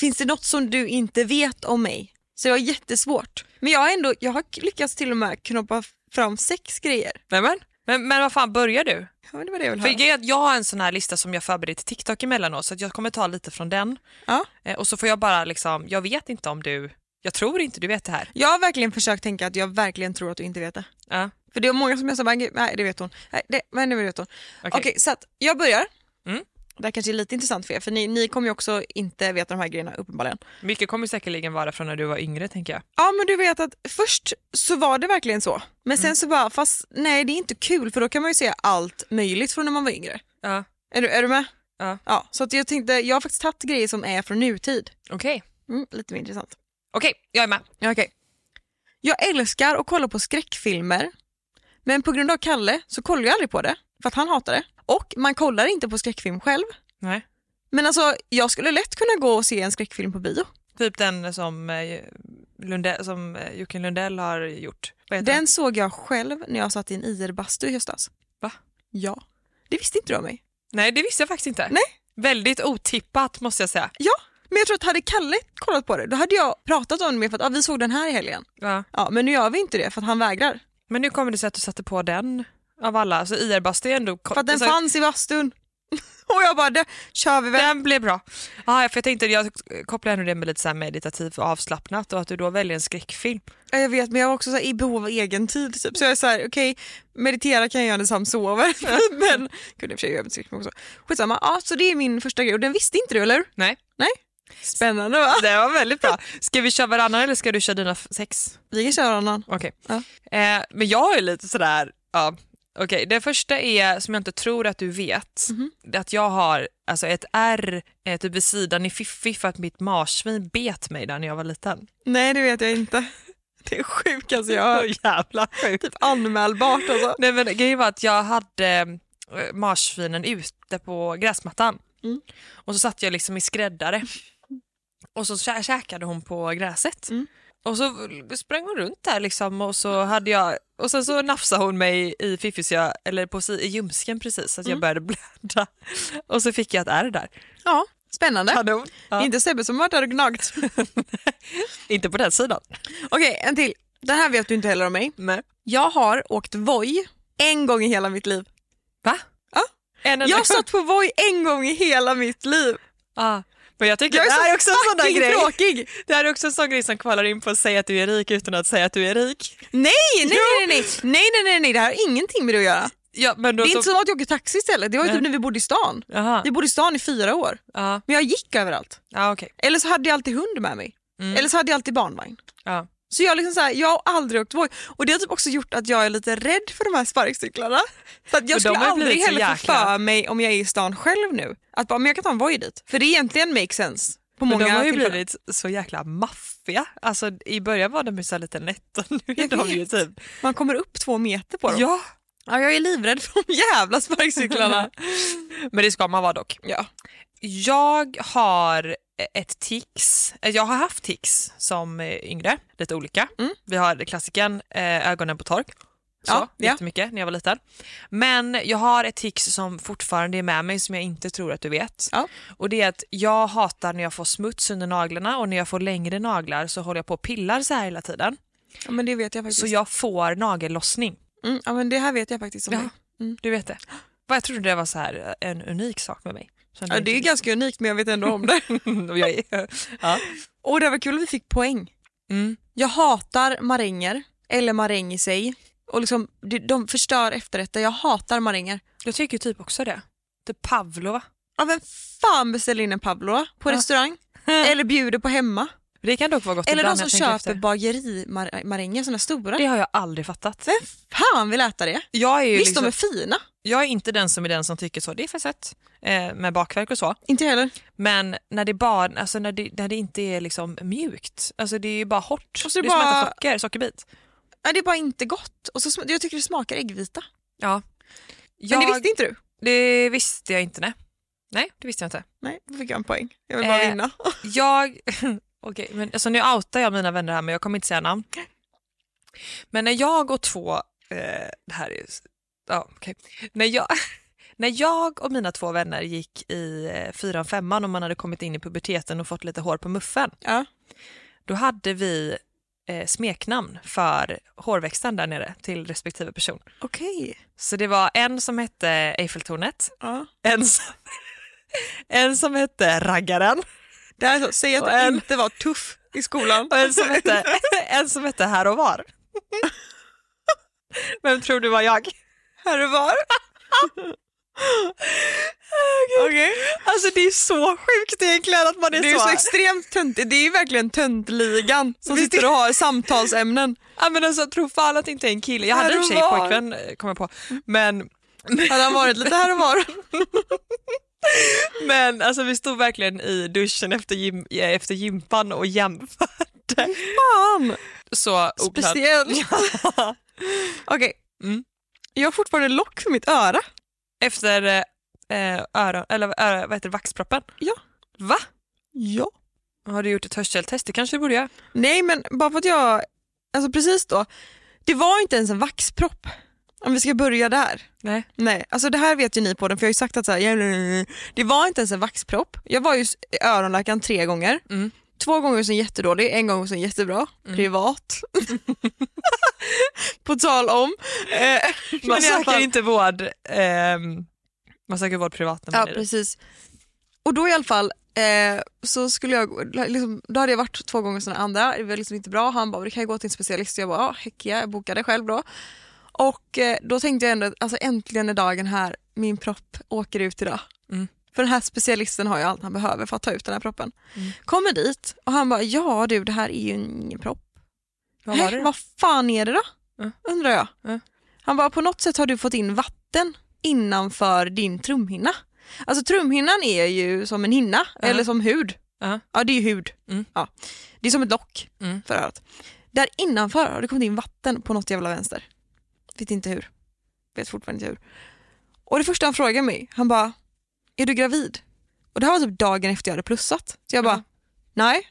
S2: finns det något som du inte vet om mig? Så det var jättesvårt. Men jag har ändå, jag har lyckats till och med knoppa fram sex grejer.
S1: Nej, men. Men, men vad fan, börjar du?
S2: Ja men det var det jag
S1: För
S2: ville höra.
S1: jag, jag har en sån här lista som jag förberett till TikTok emellanåt så att jag kommer ta lite från den.
S2: Ja.
S1: Eh, och så får jag bara liksom, jag vet inte om du, jag- Jag tror inte du vet det här.
S2: Jag har verkligen försökt tänka att jag verkligen tror att du inte vet det.
S1: Ja.
S2: För det var många som jag sa, bara, nej det vet hon, nej det, men det vet hon. Okej,
S1: Okej.
S2: så att jag börjar.
S1: Mm.
S2: Det här kanske är lite intressant för er, för ni, ni kommer ju också inte veta de här grejerna uppenbarligen.
S1: Mycket kommer säkerligen vara från när du var yngre tänker jag.
S2: Ja men du vet att först så var det verkligen så, men sen så bara, fast nej det är inte kul för då kan man ju säga allt möjligt från när man var yngre.
S1: Ja.
S2: Är du, är du med?
S1: Ja.
S2: ja. Så att jag tänkte, jag har faktiskt tagit grejer som är från nutid.
S1: Okej.
S2: Mm, lite mer intressant.
S1: Okej, jag är med.
S2: Ja, Okej. Jag älskar att kolla på skräckfilmer, men på grund av Kalle så kollar jag aldrig på det, för att han hatar det. Och man kollar inte på skräckfilm själv.
S1: Nej.
S2: Men alltså, jag skulle lätt kunna gå och se en skräckfilm på bio.
S1: Typ den som, eh, Lunde, som eh, Jocke Lundell har gjort. Vad heter den?
S2: Den såg jag själv när jag satt i en IR-bastu i höstas.
S1: Va?
S2: Ja. Det visste inte du om mig.
S1: Nej, det visste jag faktiskt inte.
S2: Nej.
S1: Väldigt otippat måste jag säga.
S2: Ja, men jag tror att hade Kalle kollat på det, då hade jag pratat om det mer för att ah, vi såg den här i helgen.
S1: Ja.
S2: Ja, men nu gör vi inte det för att han vägrar.
S1: Men nu kommer det sig att du satte på den av alla. Så IR-bastu är ändå...
S2: För att den
S1: alltså,
S2: fanns i bastun. och jag bara, det kör vi väl.
S1: Den blev bra. Ah, ja, för jag tänkte jag kopplar ändå det med lite så här meditativt och avslappnat och att du då väljer en skräckfilm.
S2: Ja, jag vet men jag var också så här, i behov av egen tid typ. Så jag är så här, okej meditera kan jag göra när Sam sover. men kunde i och för sig göra med skräckfilm också. Skitsamma, ja så det är min första grej och den visste inte du eller hur?
S1: Nej,
S2: Nej? Spännande va?
S1: det var väldigt bra. Ska vi köra varannan eller ska du köra dina f- sex?
S2: Vi kan köra någon.
S1: Okej.
S2: Ja.
S1: Eh, men jag är lite sådär, ja. Okej, det första är, som jag inte tror att du vet, det är att jag har alltså, ett R eh, typ vid sidan i Fiffi för att mitt marsvin bet mig där när jag var liten.
S2: Nej det vet jag inte. Det är sjukaste jag har hört.
S1: jävla sjukt.
S2: Typ anmälbart alltså.
S1: Nej men grejen var att jag hade eh, marsvinen ute på gräsmattan
S2: Mm.
S1: och så satt jag liksom i skräddare och så kä- käkade hon på gräset.
S2: Mm.
S1: Och så sprang hon runt där liksom och så hade jag och sen så nafsade hon mig i fiffis jag, eller på, si- i ljumsken precis så att
S2: Mm.
S1: jag började blöda och så fick jag ett ärr där.
S2: Ja, spännande.
S1: Kanon.
S2: Det är
S1: Ja.
S2: inte Sebbe som har varit där och gnagt.
S1: Inte på den sidan.
S2: okej en till. Den här vet du inte heller om mig.
S1: Nej.
S2: Jag har åkt Voi en gång i hela mitt liv.
S1: Va?
S2: Ja.
S1: En enda
S2: Jag
S1: gång.
S2: satt på Voi en gång i hela mitt liv.
S1: Ja. Men jag tycker
S2: Jag är
S1: det här
S2: så
S1: är också en sån där
S2: fucking
S1: grej.
S2: tråkig.
S1: Det här är också en sån grej som kvalar in på att säga att du är rik utan att säga att du är rik.
S2: Nej, nej, nej, nej, nej, nej, nej, nej, nej, det här har ingenting med det att göra.
S1: Ja, men då,
S2: Det är inte som att jag åker taxi istället, det var ju typ när vi bodde i stan.
S1: Jaha,
S2: Vi bodde i stan i fyra år,
S1: ja,
S2: men jag gick överallt.
S1: ja okej.
S2: Eller så hade jag alltid hund med mig,
S1: Mm.
S2: eller så hade jag alltid barnvagn.
S1: Ja.
S2: Så jag, liksom så här, jag har aldrig åkt Voi och det har typ också gjort att jag är lite rädd för de här sparkcyklarna. Så att
S1: de
S2: jag skulle
S1: har blivit
S2: aldrig
S1: så
S2: heller få
S1: jäkla-
S2: för mig om jag är i stan själv nu, att bara, men jag kan ta en Voi dit. För det är egentligen makes sense på
S1: Men
S2: många
S1: de har ju
S2: tillfällen.
S1: blivit så jäkla maffiga. Alltså i början var de ju så här lite nätta, nu är
S2: Jag
S1: de ju
S2: vet.
S1: typ...
S2: Man kommer upp två meter på dem.
S1: Ja,
S2: Ja, jag är livrädd för de jävla sparkcyklarna.
S1: men det ska man vara dock.
S2: ja.
S1: Jag har ett tics, Eh, jag har haft tics som eh, yngre, lite olika.
S2: Mm.
S1: Vi har klassikern eh, ögonen på tork. Så,
S2: Ja, ja.
S1: jättemycket när jag var liten. Men jag har ett tics som fortfarande är med mig som jag inte tror att du vet.
S2: Ja.
S1: Och det är att jag hatar när jag får smuts under naglarna och när jag får längre naglar så håller jag på och pillar så här hela tiden.
S2: ja, men det vet jag faktiskt.
S1: Så jag får nagellossning.
S2: Mm, ja, men det här vet jag faktiskt om
S1: Ja.
S2: dig.
S1: Du vet det. Va, Jag trodde det var så här en unik sak med mig. som du
S2: Ja,
S1: inte
S2: det är
S1: vet.
S2: ganska unikt men jag vet ändå om det.
S1: Och jag är- ja.
S2: Och det var kul att vi fick poäng.
S1: Mm.
S2: Jag hatar maränger, eller maräng i sig. Och liksom, de, de förstör efterrätter, jag hatar maränger.
S1: Jag tycker typ också det. Typ pavlova.
S2: Ja, vem fan beställer in en pavlova på restaurang? eller bjuder på hemma?
S1: Det kan dock vara gott
S2: Eller de
S1: ibland,
S2: som
S1: jag tänker efter.
S2: köper bagerimaränger, sådana stora.
S1: Det har jag aldrig fattat.
S2: Vem fan vill äta det?
S1: Jag är, ju
S2: Visst
S1: liksom,
S2: de är fina?
S1: jag är inte den som är den som tycker så. Det är för sött eh, med bakverk och så.
S2: Inte jag heller.
S1: Men när det, bara, alltså när det, när det inte är liksom mjukt, alltså det är ju bara hårt.
S2: Och så är det
S1: det är som
S2: bara-
S1: att äta socker, sockerbit.
S2: Ja, det är bara inte gott. Och så, sm- jag tycker det smakar äggvita.
S1: Ja.
S2: Men
S1: Jag,
S2: det visste inte du?
S1: det visste jag inte. Nej, nej det visste jag inte.
S2: Nej, då fick jag en poäng. Jag vill bara
S1: Eh,
S2: vinna.
S1: Jag, okej, men alltså nu outar jag mina vänner här men jag kommer inte säga namn. Men när jag och två, eh, det här är, ja okej, när, jag, när jag och mina två vänner gick i eh, fyran, femman och man hade kommit in i puberteten och fått lite hår på muffen,
S2: Ja.
S1: då hade vi eh, smeknamn för hårväxten där nere till respektive person.
S2: Okej.
S1: Så det var en som hette Eiffeltornet,
S2: Ja.
S1: en som, en som hette Raggaren
S2: Det här är så, säg att
S1: Och
S2: du
S1: en-
S2: inte var tuff. i skolan.
S1: Och en som hette, en som hette Här och var. Vem tror du var jag? Här och var?
S2: Okej.
S1: Alltså det är så sjukt egentligen att man är,
S2: Det är ju
S1: så...
S2: så extremt tönt. Det är ju verkligen töntligan som
S1: Visst
S2: sitter och har samtalsämnen.
S1: Ja men alltså tro fan att det inte är en kille. Jag hade i
S2: Här
S1: och
S2: och
S1: för sig
S2: var.
S1: pojkvän eh, kom jag på. Men,
S2: Hade han varit lite här och var?
S1: men alltså vi stod verkligen i duschen efter, gym, eh, efter gympan och jämförde.
S2: Fan!
S1: Så oklart. Mm.
S2: Speciellt. Okej. Jag har fortfarande lock för mitt öra.
S1: Efter eh, eh, öron, eller öra, vad heter det, vaxproppen.
S2: Ja.
S1: Va?
S2: Ja.
S1: Har du gjort ett hörseltest? Det kanske du borde göra.
S2: Nej men bara för att jag, alltså precis då, det var inte ens en vaxpropp. Om vi ska börja där.
S1: Nej.
S2: Nej, alltså det här vet ju ni på den för jag har ju sagt att så här, "Jävlar." det var inte ens en vaxpropp. Jag var ju s- i öronläkaren tre gånger.
S1: Mm.
S2: Två gånger som jättedålig, en gång som jättebra. Privat. på tal om. Eh,
S1: Man
S2: men i alla
S1: söker
S2: fall-
S1: inte vård, ehm, man söker vård privat när man
S2: Ja,
S1: är det.
S2: precis. Och då i alla fall eh, så skulle jag, gå- liksom, då hade jag varit två gånger som den andra, det var liksom inte bra. Han bara, du kan ju gå till en specialist. Jag bara, ja, heck ja, jag bokade själv då. Och eh, då tänkte jag ändå, alltså äntligen är dagen här, min propp åker ut idag.
S1: Mm.
S2: För den här specialisten har ju allt han behöver för att ta ut den här proppen.
S1: Mm.
S2: Kommer dit och han bara, ja du det här är ju ingen propp.
S1: Vad var
S2: "Hä,
S1: det då?
S2: vad fan är det då?
S1: Ja.
S2: Undrar jag.
S1: Ja.
S2: Han bara, på något sätt har du fått in vatten innanför din trumhinna. Alltså trumhinnan är ju som en hinna,
S1: Ja.
S2: eller som hud.
S1: Ja.
S2: Ja, det är ju hud.
S1: Mm.
S2: Ja. Det är som ett lock
S1: Mm.
S2: för örat. Där innanför har det kommit in vatten på något jävla vänster. Vet inte hur. Vet fortfarande inte hur. Och det första han frågar mig, han bara, är du gravid? Och det här var typ dagen efter jag hade plussat. Så jag bara,
S1: Mm.
S2: nej.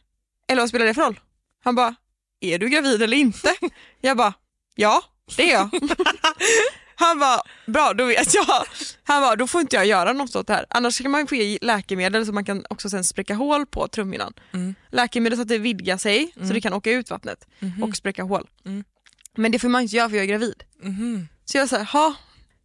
S2: Eller vad spelar det för roll? Han bara, är du gravid eller inte? jag bara, ja det är jag. Han bara, bra då vet jag. Han bara, då får inte jag göra något åt det här. Annars kan man få ge läkemedel så man kan också sen spräcka hål på trumhinnan.
S1: Mm.
S2: Läkemedel så att det vidgar sig så det kan åka ut vattnet och spräcka hål. Men det får man inte göra för jag är gravid.
S1: Mm. Mhm.
S2: Så jag säger, ja,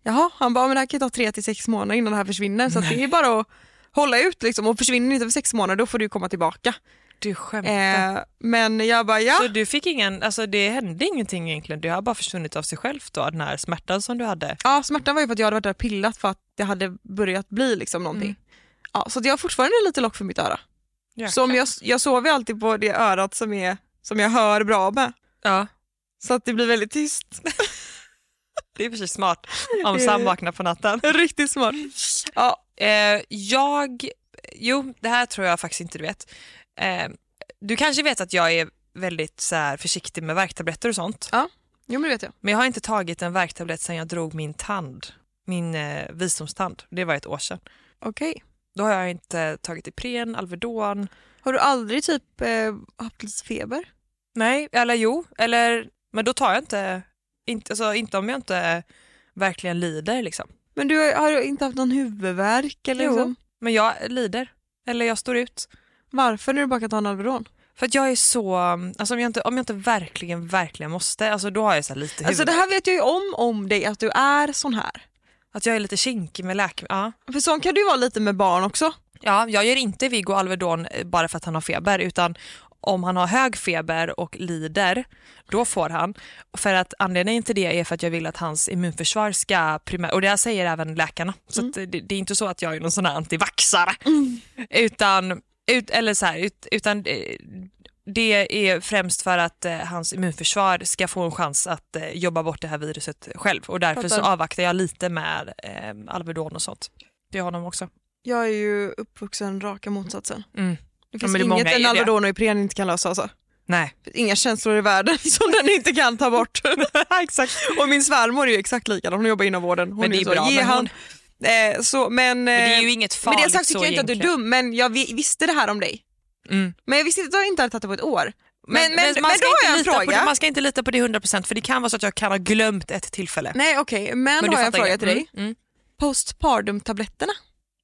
S2: jaha. Han bara, men det här kan ju ta tre till sex månader innan det här försvinner. Så att det är bara att hålla ut liksom. Och försvinner det inte för sex månader då får du komma tillbaka.
S1: Du skämtar.
S2: Eh, men jag bara, ja.
S1: Så du fick ingen, alltså det hände ingenting egentligen, det har bara försvunnit av sig själv då, den här smärtan som du hade.
S2: Ja, smärtan var ju för att jag hade varit där och pillat för att det hade börjat bli liksom någonting. Ja, så att jag har fortfarande lite lock för mitt öra. Så om jag, jag sover ju alltid på det örat som, är, som jag hör bra med.
S1: Ja,
S2: Så att det blir väldigt tyst.
S1: det är precis smart om
S2: Det är-
S1: Sam vaknar på natten.
S2: Riktigt smart.
S1: Ja, eh, jag, jo det här tror jag faktiskt inte du vet. Eh, du kanske vet att jag är väldigt så här, försiktig med värktabletter och sånt.
S2: Jo men det vet jag.
S1: Men jag har inte tagit en värktablett sedan jag drog min tand, min eh, visdomstand. Det var ett år sedan.
S2: Okej.
S1: Då har jag inte tagit Ipren, Alvedon.
S2: Har du aldrig typ eh, haft lite feber?
S1: Nej, eller jo, eller, men då tar jag inte, inte, alltså, inte om jag inte verkligen lider liksom.
S2: Men du har, har du inte haft någon huvudvärk eller
S1: Jo.
S2: liksom?
S1: Men jag lider, eller jag står ut.
S2: Varför när du bara kan ta en Alvedon?
S1: För att jag är så, alltså om jag inte, om jag inte verkligen, verkligen måste, alltså då har jag så här lite
S2: Alltså det
S1: huvudvärk.
S2: här vet jag ju om om dig att du är sån här.
S1: Att jag är lite kinkig med läkemedel. Ja.
S2: För sån kan du ju vara lite med barn också.
S1: ja, jag ger inte Viggo Alvedon eh, bara för att han har feber utan om han har hög feber och lider, då får han. För att anledningen till det är för att jag vill att hans immunförsvar ska primär... Och det här säger även läkarna. Så att det, det är inte så att jag är någon sån här antivaxare. Utan, ut, eller så här, ut, utan eh, det är främst för att eh, hans immunförsvar ska få en chans att eh, jobba bort det här viruset själv. Och därför så
S2: Fattar.
S1: avvaktar jag lite med eh, Alvedon och sånt. Det har de också.
S2: Jag är ju uppvuxen raka motsatsen.
S1: Mm. men
S2: Det finns
S1: det är många
S2: inget en
S1: i det.
S2: Alvedon och Ipren inte kan lösa alltså.
S1: Nej.
S2: inga känslor i världen som den inte kan ta bort.
S1: Exakt.
S2: och min svärmor är ju exakt likadan, hon jobbar inom vården. Hon
S1: Men det är
S2: ju så,
S1: bra,
S2: ge
S1: men
S2: han,
S1: hon-
S2: Eh, så,
S1: Men
S2: men,
S1: det är
S2: eh,
S1: ju inget
S2: med
S1: farligt
S2: det sagt
S1: så
S2: tycker jag inte att du är
S1: egentligen.
S2: dum, men jag vi- visste det här om dig.
S1: Mm.
S2: Men jag visste inte att jag inte hade tagit det på ett år. Men,
S1: Men,
S2: men, men,
S1: man,
S2: då
S1: ska
S2: har jag en
S1: inte lita på
S2: fråga.
S1: det, man ska inte lita på det 100% för det kan vara så att jag kan ha glömt ett tillfälle.
S2: Nej okej, men,
S1: Men
S2: då
S1: du
S2: har jag en
S1: fattar
S2: fråga
S1: grejen.
S2: till dig.
S1: Mm, mm.
S2: Postpartum-tabletterna,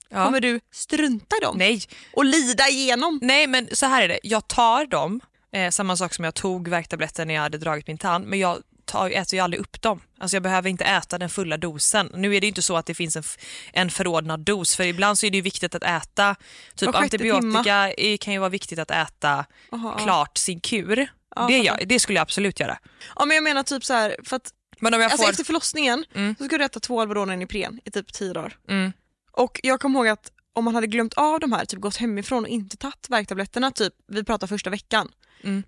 S1: Ja.
S2: kommer du strunta i dem?
S1: Nej.
S2: Och lida igenom?
S1: Nej men så här är det, jag tar dem, eh, samma sak som jag tog värktabletten när jag hade dragit min tand, men jag tar, äter ju aldrig upp dem. Alltså jag behöver inte äta den fulla dosen. Nu är det ju inte så att det finns en, f- en förordnad dos, för ibland så är det ju viktigt att äta, typ
S2: Var sjätte
S1: antibiotika eh, kan ju vara viktigt att äta
S2: Aha.
S1: klart sin kur.
S2: Ja,
S1: det,
S2: fattar.
S1: gör, det skulle jag absolut göra.
S2: Ja men jag menar typ så här, för att
S1: Men om jag
S2: alltså,
S1: får...
S2: efter förlossningen så ska du äta två Alvedon och Ipren i typ tio dagar.
S1: Mm.
S2: Och jag kommer ihåg att om man hade glömt av de här, typ gått hemifrån och inte tagit värktabletterna, typ vi pratar första veckan,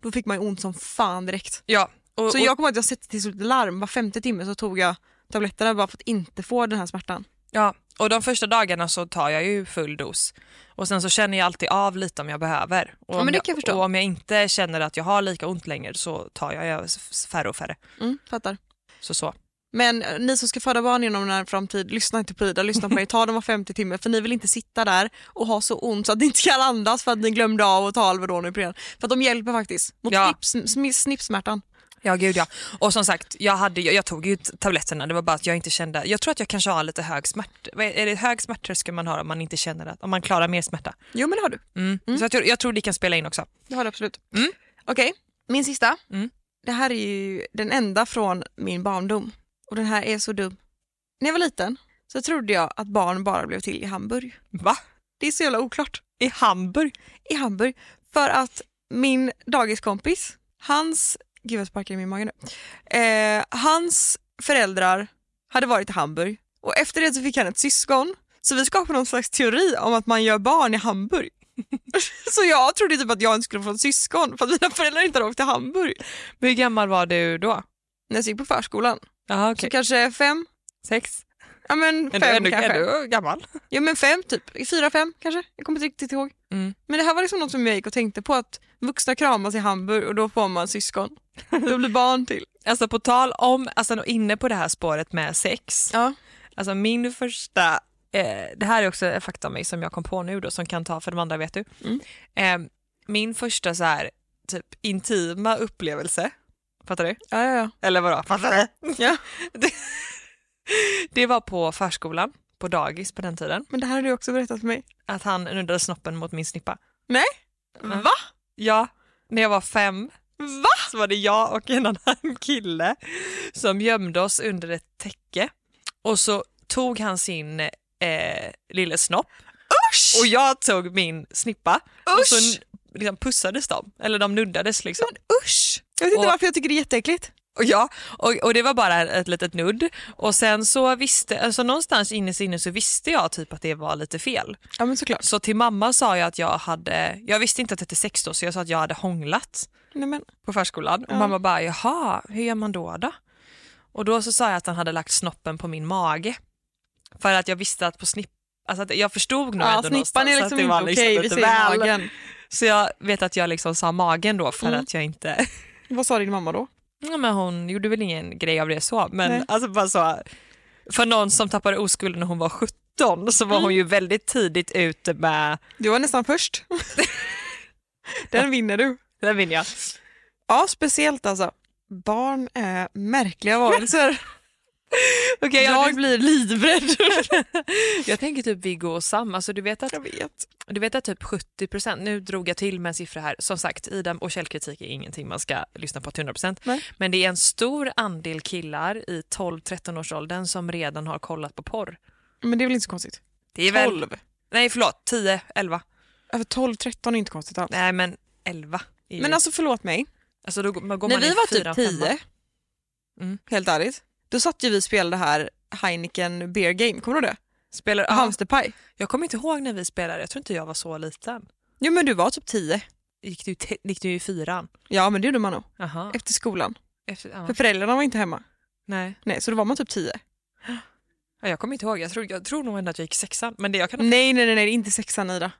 S2: då fick man ju ont som fan direkt.
S1: Ja, och,
S2: Så
S1: Mm. och,
S2: jag kommer ihåg att jag satte till slut larm, var femte timme så tog jag tabletterna bara för att inte få den här smärtan.
S1: ja, och de första dagarna så tar jag ju full dos. Och sen så känner jag alltid av lite om jag behöver. Och,
S2: Ja,
S1: om
S2: men det kan jag förstå.
S1: och om jag inte känner att jag har lika ont längre så tar jag f- färre och färre.
S2: Mm, fattar.
S1: Så så.
S2: Men eh, ni som ska föda barn inom en nära framtid, lyssna inte på Ida, lyssna på mig. Ta dem var femte timme för ni vill inte sitta där och ha så ont så att ni inte kan andas för att ni glömde av att ta Alvedon och Ipren. För att de hjälper faktiskt mot
S1: Ja.
S2: snips, sm- snippsmärtan.
S1: Ja, gud ja. Och som sagt, jag, hade, jag, jag tog ju t- tabletterna. Det var bara att jag inte kände... Jag tror att jag kanske har lite hög smärt... vad Är är det hög smärttröskel man har om man inte känner att... Om man klarar mer smärta?
S2: Jo men det har du.
S1: Mm. Så jag tror, jag tror det kan spela in också.
S2: Det har du absolut. Okej, min sista.
S1: Mm.
S2: Det här är ju den enda från min barndom och den här är så dum. När jag var liten så trodde jag att barn bara blev till i Hamburg.
S1: Va?
S2: Det är så jävla oklart.
S1: I Hamburg?
S2: i Hamburg för att min dagiskompis, hans, gud jag sparkar i min mage nu, eh, hans föräldrar hade varit i Hamburg och efter det så fick han ett syskon så vi skapade någon slags teori om att man gör barn i Hamburg. så jag trodde typ att jag inte skulle få ett syskon för att mina föräldrar inte hade åkt till Hamburg
S1: Hur gammal var du då?
S2: när jag gick på förskolan.
S1: Ja,
S2: Så kanske fem,
S1: Sex?
S2: ja men
S1: Är du,
S2: fem
S1: är, du,
S2: kanske.
S1: är du gammal?
S2: Ja men fem typ, fyra, fem kanske. Jag kommer inte riktigt ihåg.
S1: Mm.
S2: Men det här var liksom något som jag gick och tänkte på att vuxna kramas i Hamburg och då får man syskon. Då blir barn till.
S1: Alltså på tal om, alltså inne på det här spåret med sex.
S2: Ja.
S1: Alltså min första, eh, det här är också en fakta om mig som jag kom på nu då som kan ta för de andra vet du. Eh, min första så här typ intima upplevelse, fattar du?
S2: Ja, ja, ja.
S1: Eller vadå? Fattar du?
S2: Ja.
S1: det, det var på förskolan, på dagis på den tiden,
S2: Men det här har du också berättat för mig.
S1: att han nuddade snoppen mot min snippa.
S2: Nej?
S1: Mm.
S2: Va?
S1: Ja, när jag var fem Va? så var det jag och en annan kille som gömde oss under ett täcke och så tog han sin eh, lille snopp
S2: Usch!
S1: och jag tog min snippa och så
S2: Usch!
S1: n- liksom pussades de, eller de nuddades liksom.
S2: Usch! Jag vet inte
S1: Och-
S2: varför jag tycker det är jätteäckligt.
S1: Och, ja, och, och det var bara ett litet nudd och sen så visste, alltså någonstans inne i sinne så visste jag typ att det var lite fel.
S2: Ja men såklart.
S1: Så till mamma sa jag att jag hade, jag visste inte att det är sex då så jag sa att jag hade hånglat.
S2: Nej, men.
S1: på förskolan och mamma bara jaha, hur gör man då då? Och då så sa jag att han hade lagt snoppen på min mage för att jag visste att på snipp alltså att jag förstod nog
S2: Ja,
S1: ändå någonstans
S2: snippan är
S1: att
S2: liksom
S1: det
S2: inte
S1: var
S2: okej,
S1: liksom
S2: vi
S1: lite
S2: säger
S1: väl.
S2: magen. Mm.
S1: Så jag vet att jag liksom sa magen då för att jag inte,
S2: Vad sa din mamma då?
S1: ja, men hon gjorde väl ingen grej av det så men
S2: Nej.
S1: alltså bara så, för någon som tappade oskulden när hon var 17 så var
S2: Mm.
S1: hon ju väldigt tidigt ute med,
S2: Du var nästan först. den vinner du.
S1: den vinner jag.
S2: Ja, speciellt alltså. Barn är märkliga varelser.
S1: Okej, jag,
S2: blir livrädd.
S1: jag tänker typ Viggo och Sam, alltså du vet att
S2: jag vet.
S1: Du vet att typ 70 procent, nu drog jag till med en siffra här, som sagt Ida och källkritik är ingenting man ska lyssna på till 100 procent.
S2: Nej.
S1: Men det är en stor andel killar i 12-13 års åldern som redan har kollat på porr.
S2: Men det är väl inte så konstigt?
S1: Det är väl,
S2: 12.
S1: Nej förlåt, 10, 11.
S2: Över 12, 13 är inte konstigt alls.
S1: Nej men 11. är ju-
S2: Men alltså förlåt mig.
S1: alltså då går man går
S2: När
S1: man i
S2: vi var
S1: fyran,
S2: typ
S1: femman.
S2: 10,
S1: Mm.
S2: helt ärligt, då satt ju vi och spelade det här Heineken Beer Game, kommer du ihåg det?
S1: Spelar,
S2: Ja.
S1: ja,
S2: Hamsterpaj.
S1: jag kommer inte ihåg när vi spelade, jag tror inte jag var så liten.
S2: Jo men du var typ 10.
S1: Gick du, te- gick du i fyran?
S2: Ja men det gjorde man nog,
S1: Aha.
S2: efter skolan.
S1: Efter, ja.
S2: För föräldrarna var inte hemma.
S1: Nej,
S2: Nej, så då var man typ 10.
S1: ja, jag kommer inte ihåg, jag tror, jag tror nog ändå att jag gick sexan. Men det jag kan
S2: Nej, nej, nej, nej, inte sexan Ida.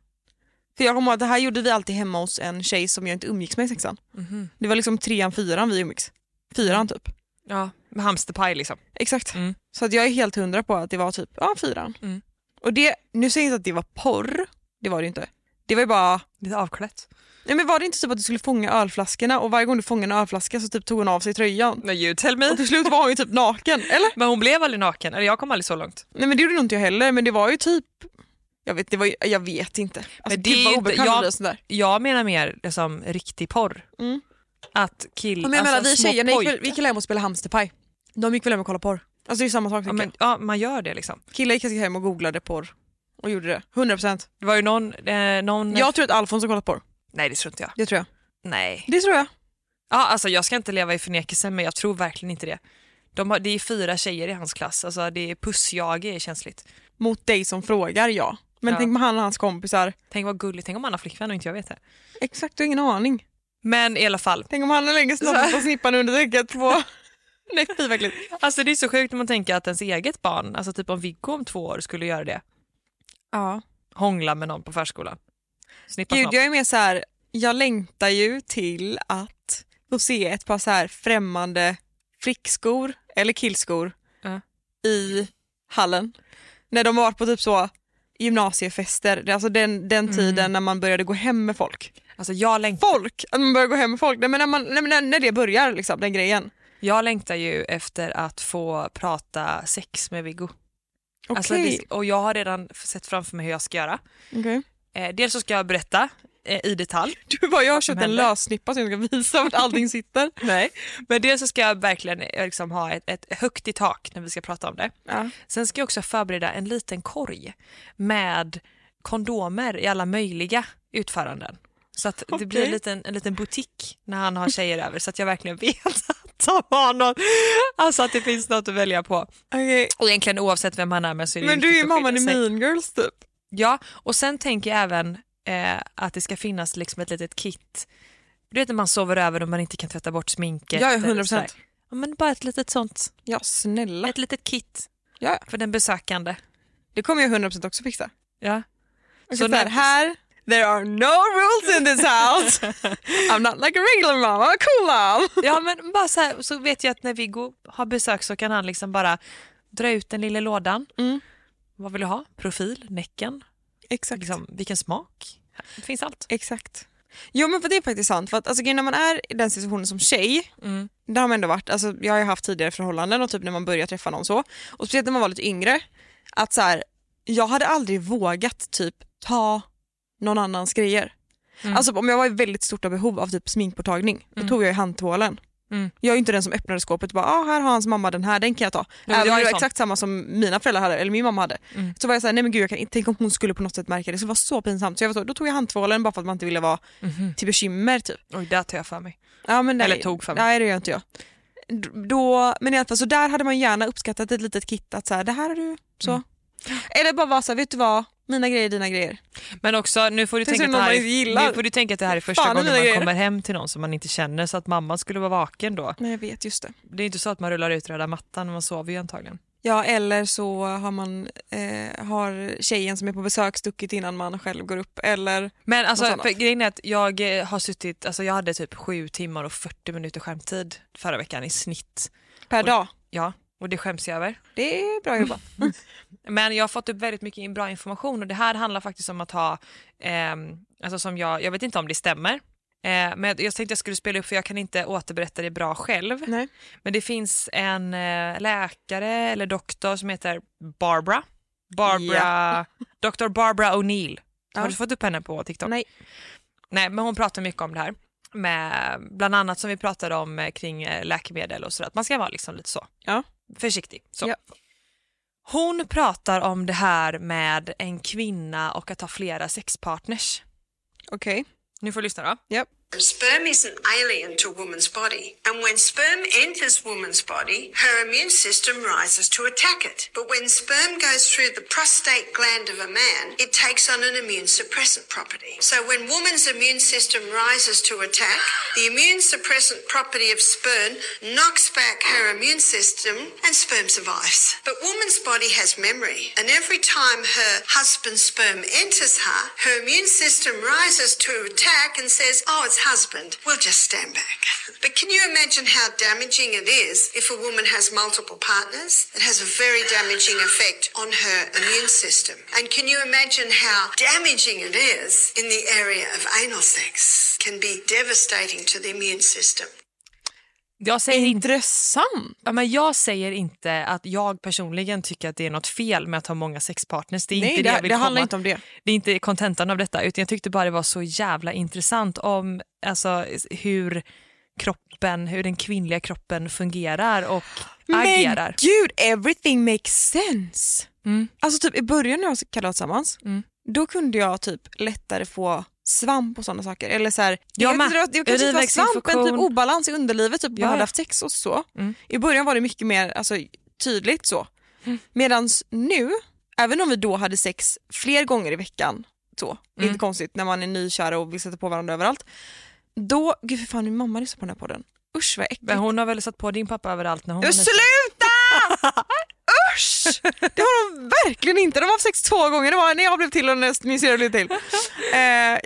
S2: För jag kommer ihåg att det här gjorde vi alltid hemma hos en tjej som jag inte umgicks med i sexan.
S1: Mhm.
S2: Det var liksom trean, fyran vi umgicks. Fyran typ.
S1: Ja, med hamsterpaj liksom.
S2: Exakt.
S1: Mm.
S2: Så att jag är helt hundra på att det var typ ja, fyran.
S1: Mm.
S2: Och det, nu säger jag inte att det var porr, det var det ju inte. Det var ju bara,
S1: Lite avklätt.
S2: nej men var det inte typ att du skulle fånga ölflaskorna och varje gång du fångade en ölflaska så typ tog hon av sig tröjan.
S1: No, you tell me.
S2: Och till slut var hon ju typ naken, eller?
S1: Men hon blev aldrig naken, eller jag kom aldrig så långt.
S2: Nej men det gjorde nog inte jag heller men det var ju typ, jag vet, det var ju, jag vet inte. Alltså,
S1: Men det
S2: gud,
S1: är
S2: vad
S1: ju inte-
S2: obekvämt
S1: jag- alltså,
S2: jag... och sådär.
S1: Jag menar mer liksom, riktig porr.
S2: Mm.
S1: att kill...
S2: Men jag menar,
S1: alltså,
S2: vi
S1: små
S2: tjejerna gick väl,
S1: pojkar-
S2: vi gick väl hem och spelade hamsterpaj. De gick väl hem och kollade porr. Alltså det är samma sak.
S1: ja,
S2: tänker
S1: men,
S2: jag.
S1: ja, man gör det liksom.
S2: Killar gick hem och googlade porr och gjorde det. 100%.
S1: Det var ju någon... Eh, någon
S2: Jag tror att Alfons har kollat porr.
S1: Nej, det tror inte jag.
S2: Det tror jag.
S1: Nej.
S2: Det tror jag.
S1: Ja, alltså jag ska inte leva i förnekelse men jag tror verkligen inte det. De har, det är fyra tjejer i hans klass, alltså det är pussjage är känsligt.
S2: Mot dig som frågar, ja. Men
S1: Ja.
S2: tänk på han och hans kompisar.
S1: Tänk vad gulligt, tänk om han har flickvän och inte jag vet det.
S2: Exakt, du har ingen aning.
S1: Men i alla fall,
S2: Tänk om han har länge snabbt på snippan under täcket på... Nej fy vad äckligt.
S1: alltså det är så sjukt när man tänker att ens eget barn, alltså typ om Viggo om två år skulle göra det,
S2: Ja.
S1: hångla med någon på förskolan. Snippa
S2: Gud
S1: snopp.
S2: jag är mer så här. jag längtar ju till att få se ett par så här främmande flickskor eller killskor
S1: Ja.
S2: i hallen. När de var på typ så gymnasiefester, Det är alltså den,
S1: Mm.
S2: den tiden när man började gå hem med folk.
S1: Alltså jag, läng-
S2: Folk! Att man började gå hem med folk, Nej, men när, man, nej, men när, när det börjar liksom, den grejen.
S1: jag längtar ju efter att få prata sex med Viggo. Alltså
S2: Okej.
S1: det, och jag har redan sett framför mig hur jag ska göra.
S2: Okej.
S1: Eh, dels så ska jag berätta eh, i detalj
S2: Du bara, jag har köpt en
S1: hände?
S2: lössnippa som jag ska visa vart allting sitter.
S1: Nej, men dels så ska jag verkligen eh, liksom ha ett, ett högt i tak när vi ska prata om det.
S2: Ja.
S1: Sen ska jag också förbereda en liten korg med kondomer i alla möjliga utföranden. Så att det blir en
S2: Okej.
S1: liten, en liten butik när han har tjejer över så att jag verkligen vet att han har något, alltså att det finns något att välja på.
S2: Okej.
S1: Och egentligen oavsett vem han är med så är det
S2: Men du är
S1: viktigt
S2: ju
S1: att skilja
S2: mamman i
S1: sig.
S2: Mean Girls typ.
S1: Ja, och sen tänker jag även eh, att det ska finnas liksom ett litet kit. Du vet när man sover över och man inte kan tvätta bort sminket.
S2: Ja, ja,
S1: eller
S2: 100%.
S1: sådär. Ja, men bara ett litet sånt.
S2: Ja snälla.
S1: Ett litet kit
S2: Ja.
S1: för den besökande.
S2: Eh, Det kommer jag 100% också fixa.
S1: Ja.
S2: Okay,
S1: Så
S2: så här,
S1: när-
S2: här, there are no rules in this house. I'm not like a regular mom, I'm a cool mom.
S1: ja, men bara så, här, så vet jag att när Viggo har besök så kan han liksom bara dra ut den lilla lådan.
S2: Mm.
S1: Vad vill du ha? Profil, näcken,
S2: Exakt.
S1: liksom, vilken smak? Det finns allt.
S2: Exakt. Jo men för det är faktiskt sant, för att alltså, grejen när man är i den situationen som tjej,
S1: Mm.
S2: det har man ändå varit, alltså, jag har ju haft tidigare förhållanden och typ när man börjar träffa någon så, och speciellt när man var lite yngre, att så här, jag hade aldrig vågat typ ta någon annans grejer.
S1: Mm.
S2: Alltså om jag var i väldigt stort av behov av typ sminkborttagning, då tog jag i handtvålen.
S1: Mm.
S2: Jag är ju inte den som öppnade skåpet och bara ah, här har hans mamma den här, den kan jag ta.
S1: men
S2: Även
S1: jag
S2: om
S1: är
S2: det var
S1: sån. Mm.
S2: exakt samma som mina föräldrar hade, eller min mamma hade. Så var jag såhär, nej men gud jag kan inte, tänk om hon skulle på något sätt märka det, det skulle vara så pinsamt. Så jag var så, då tog jag handtvålen bara för att man inte ville vara
S1: Mm-hmm.
S2: till bekymmer typ.
S1: Oj, där tar jag för mig.
S2: Ja, men nej,
S1: Eller tog för mig.
S2: Nej det gör inte jag. D- Då, men i alla fall, så där hade man gärna uppskattat ett litet kit att så här, det här har du, så. Eller bara vara såhär, vet du vad, mina grejer dina grejer.
S1: Men också, nu får du,
S2: Tills
S1: tänka
S2: det
S1: att
S2: är
S1: det här
S2: någon man inte gillar.
S1: är, nu får du tänka att det här är första
S2: Fan,
S1: gången
S2: mina
S1: man
S2: grejer.
S1: kommer hem till någon som man inte känner så att mamman skulle vara vaken då.
S2: Nej jag vet, just det.
S1: Det är inte så att man rullar ut röda mattan, man sover ju antagligen.
S2: Ja eller så har man eh, har tjejen som är på besök stuckit innan man själv går upp eller
S1: Men alltså,
S2: Något annat.
S1: för grejen är att jag eh, har suttit, alltså jag hade typ 7 timmar och 40 minuter skärmtid förra veckan i snitt.
S2: per dag.
S1: Ja, och det skäms jag över.
S2: Det är bra jobbat.
S1: Men jag har fått upp väldigt mycket in- bra information och det här handlar faktiskt om att ha, ehm, alltså som jag, jag vet inte om det stämmer, eh, men jag tänkte jag skulle spela upp för jag kan inte återberätta det bra själv.
S2: Nej.
S1: Men det finns en eh, läkare eller doktor som heter Barbara. Barbara Dr. Barbara O'Neill. Har
S2: Ja.
S1: du fått upp henne på TikTok?
S2: Nej.
S1: Nej, men hon pratar mycket om det här. Med, bland annat som vi pratade om eh, kring eh, läkemedel och sådär. Att man ska vara liksom lite så.
S2: Ja.
S1: Försiktig. Så.
S2: Ja.
S1: Hon pratar om det här med en kvinna och att ha flera sexpartners.
S2: Okej.
S1: Nu får du lyssna då.
S4: Sperm is an alien to woman's body, and when sperm enters woman's body, her immune system rises to attack it. But when sperm goes through the prostate gland of a man, it takes on an immune suppressant property. So when woman's immune system rises to attack, the immune suppressant property of sperm knocks back her immune system and sperm survives. But woman's body has memory, and every time her husband's sperm enters her, her immune system rises to attack and says, Oh, it's husband. We'll just stand back. But can you imagine how damaging it is if a woman has multiple partners? It has a very damaging effect on her immune system. And can you imagine how damaging it is in the area of anal sex? Can be devastating to the immune system.
S1: Jag säger, inte,
S2: Intressant.
S1: ja, men jag säger inte att jag personligen tycker att det är något fel med att ha många sexpartners. Det är
S2: Nej
S1: inte det, jag
S2: det,
S1: vill
S2: det
S1: komma.
S2: handlar inte om det.
S1: det är inte kontentan av detta utan jag tyckte bara det var så jävla intressant om alltså, hur kroppen, hur den kvinnliga kroppen fungerar och
S2: Men
S1: agerar. Mm.
S2: gud, everything makes sense. Alltså typ i början när jag kallade tillsammans, då kunde jag typ lättare få svamp och sådana saker. Eller så här,
S1: Jag
S2: jag
S1: med.
S2: det kanske inte var svamp, men typ
S1: Urinvägsinfektion.
S2: obalans i underlivet, typ
S1: Ja,
S2: man hade
S1: ja. Mm.
S2: haft sex och så. I början var det mycket mer alltså, tydligt så.
S1: Mm.
S2: Medan nu, även om vi då hade sex fler gånger i veckan, så,
S1: Mm.
S2: inte konstigt när man är nykär och vill sätta på varandra överallt, då, gud för fan min mamma lyssnar på den här podden. Usch vad äckligt.
S1: Men hon har väl satt på din pappa överallt när hon var
S2: Men
S1: liten.
S2: sluta! Usch! Det har de verkligen inte. De har haft sex två gånger. Det var när jag blev till och när min syrra blev till. Eh,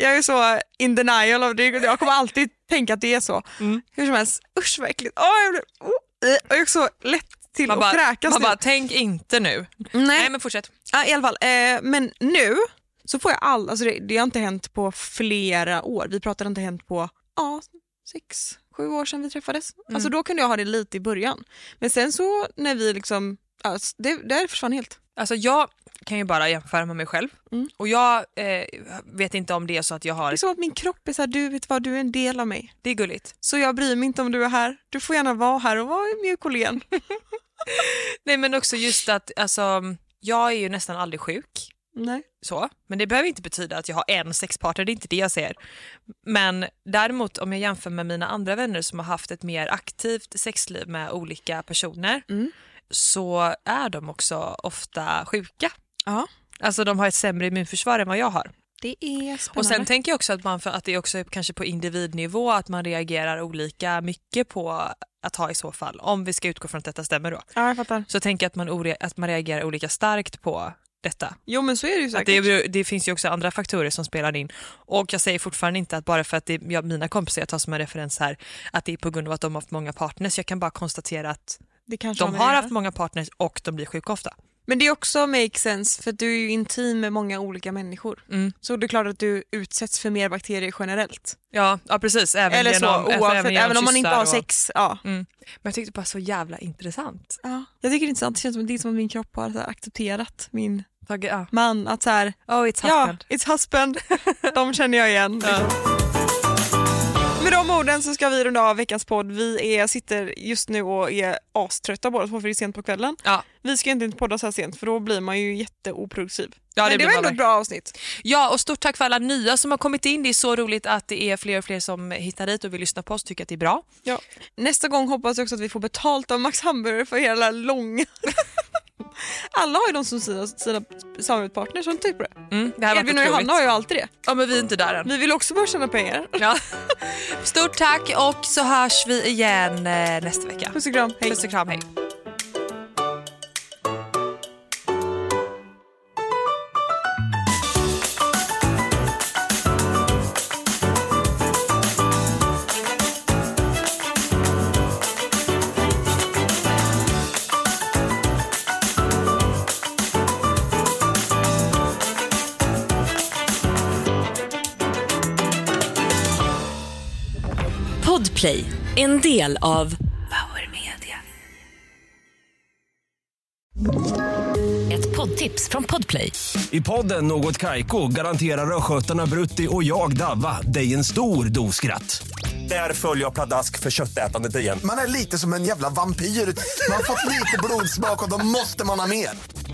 S2: jag är så in denial av det. Jag kommer alltid tänka att det är så.
S1: Mm.
S2: Hur som helst, usch vad äckligt. Åh, jag, blev, oh, eh, och jag är så lätt till
S1: Man
S2: att
S1: bara,
S2: kräkas
S1: man
S2: nu.
S1: bara, tänk inte nu. Nej men fortsätt.
S2: Ja, i alla fall. Eh, men nu så får jag all... Alltså det, det har inte hänt på flera år. Vi pratar inte hänt på ja, sex, sju år sedan vi träffades. Alltså då kunde jag ha det lite i början. Men sen så när vi liksom... Alltså, det, det här försvann helt.
S1: Alltså jag kan ju bara jämföra med mig själv och jag eh, vet inte om det är så att jag
S2: Det
S1: har,
S2: är som att min kropp är så här, du vet vad, du är en del av mig.
S1: det är gulligt.
S2: Så jag bryr mig inte om du är här. Du får gärna vara här och vara mjuk och len.
S1: Nej men också just att alltså, jag är ju nästan aldrig sjuk.
S2: Nej.
S1: så. Men det behöver inte betyda att jag har en sexpartner, det är inte det jag säger. Men däremot om jag jämför med mina andra vänner som har haft ett mer aktivt sexliv med olika personer så är de också ofta sjuka.
S2: Ja.
S1: Alltså de har ett sämre immunförsvar än vad jag har.
S2: Det är spännande.
S1: Och sen tänker jag också att, man, för att det är också kanske på individnivå att man reagerar olika mycket på att ha i så fall, om vi ska utgå från att detta stämmer då,
S2: ja, jag fattar.
S1: så tänker jag att man, ore- att man reagerar olika starkt på detta.
S2: Jo men så är det ju
S1: Att
S2: säkert.
S1: det, beror- det finns ju också andra faktorer som spelar in. Och jag säger fortfarande inte att bara för att det, jag, mina kompisar jag tar som en referens här, att det är på grund av att de har haft många partners. Jag kan bara konstatera att
S2: Det kanske
S1: de
S2: med
S1: har
S2: det
S1: haft många partners och de blir sjuka ofta.
S2: Men det är också make sense för att du är ju intim med många olika människor.
S1: Mm.
S2: Så det är klart att du utsätts för mer bakterier generellt.
S1: Ja, ja precis. Även
S2: Eller så,
S1: genom,
S2: oavsett,
S1: genom
S2: även om man inte har
S1: kyssar och-
S2: sex. Ja.
S1: Mm. Men jag tyckte bara så jävla intressant.
S2: Ja. Jag tycker det är intressant, det känns som, det är som att min kropp har så här, accepterat min
S1: Tage, ja.
S2: man. Att så här,
S1: Oh, it's
S2: ja,
S1: happened.
S2: it's husband, de känner jag igen. Med de orden så ska vi runda av veckans podd. Vi är, sitter just nu och är aströtta båda två för det är sent på kvällen.
S1: Ja.
S2: Vi ska inte podda så här sent för då blir man ju jätteoproduktiv.
S1: Ja, det
S2: Men det
S1: blir
S2: var
S1: man
S2: ändå ett
S1: verkligen.
S2: bra avsnitt.
S1: Ja, och stort tack för alla nya som har kommit in. Det är så roligt att det är fler och fler som hittar hit och vill lyssna på oss och tycker att det är bra.
S2: Ja. Nästa gång hoppas jag också att vi får betalt av Max Hamburger för hela långa... Alla har ju de som sina, sina samarbetspartners som tycker på det.
S1: Mm, det här var
S2: Edvin och Johanna har ju alltid det.
S1: Ja, men vi är inte där än.
S2: Vi vill också börja tjäna pengar.
S1: Ja. Stort tack och så hörs vi igen eh, nästa vecka.
S2: Puss och kram, hej.
S1: Puss och kram, hej.
S3: Podplay, en del av Power Media. Ett poddtips från Podplay.
S5: I podden Något Kaiko garanterar östgötarna Brutti och jag, Davva, dig en stor dos skratt. Där följer jag pladask för köttätandet igen.
S6: Man är lite som en jävla vampyr. Man har fått lite blodsmak och då måste man ha mer.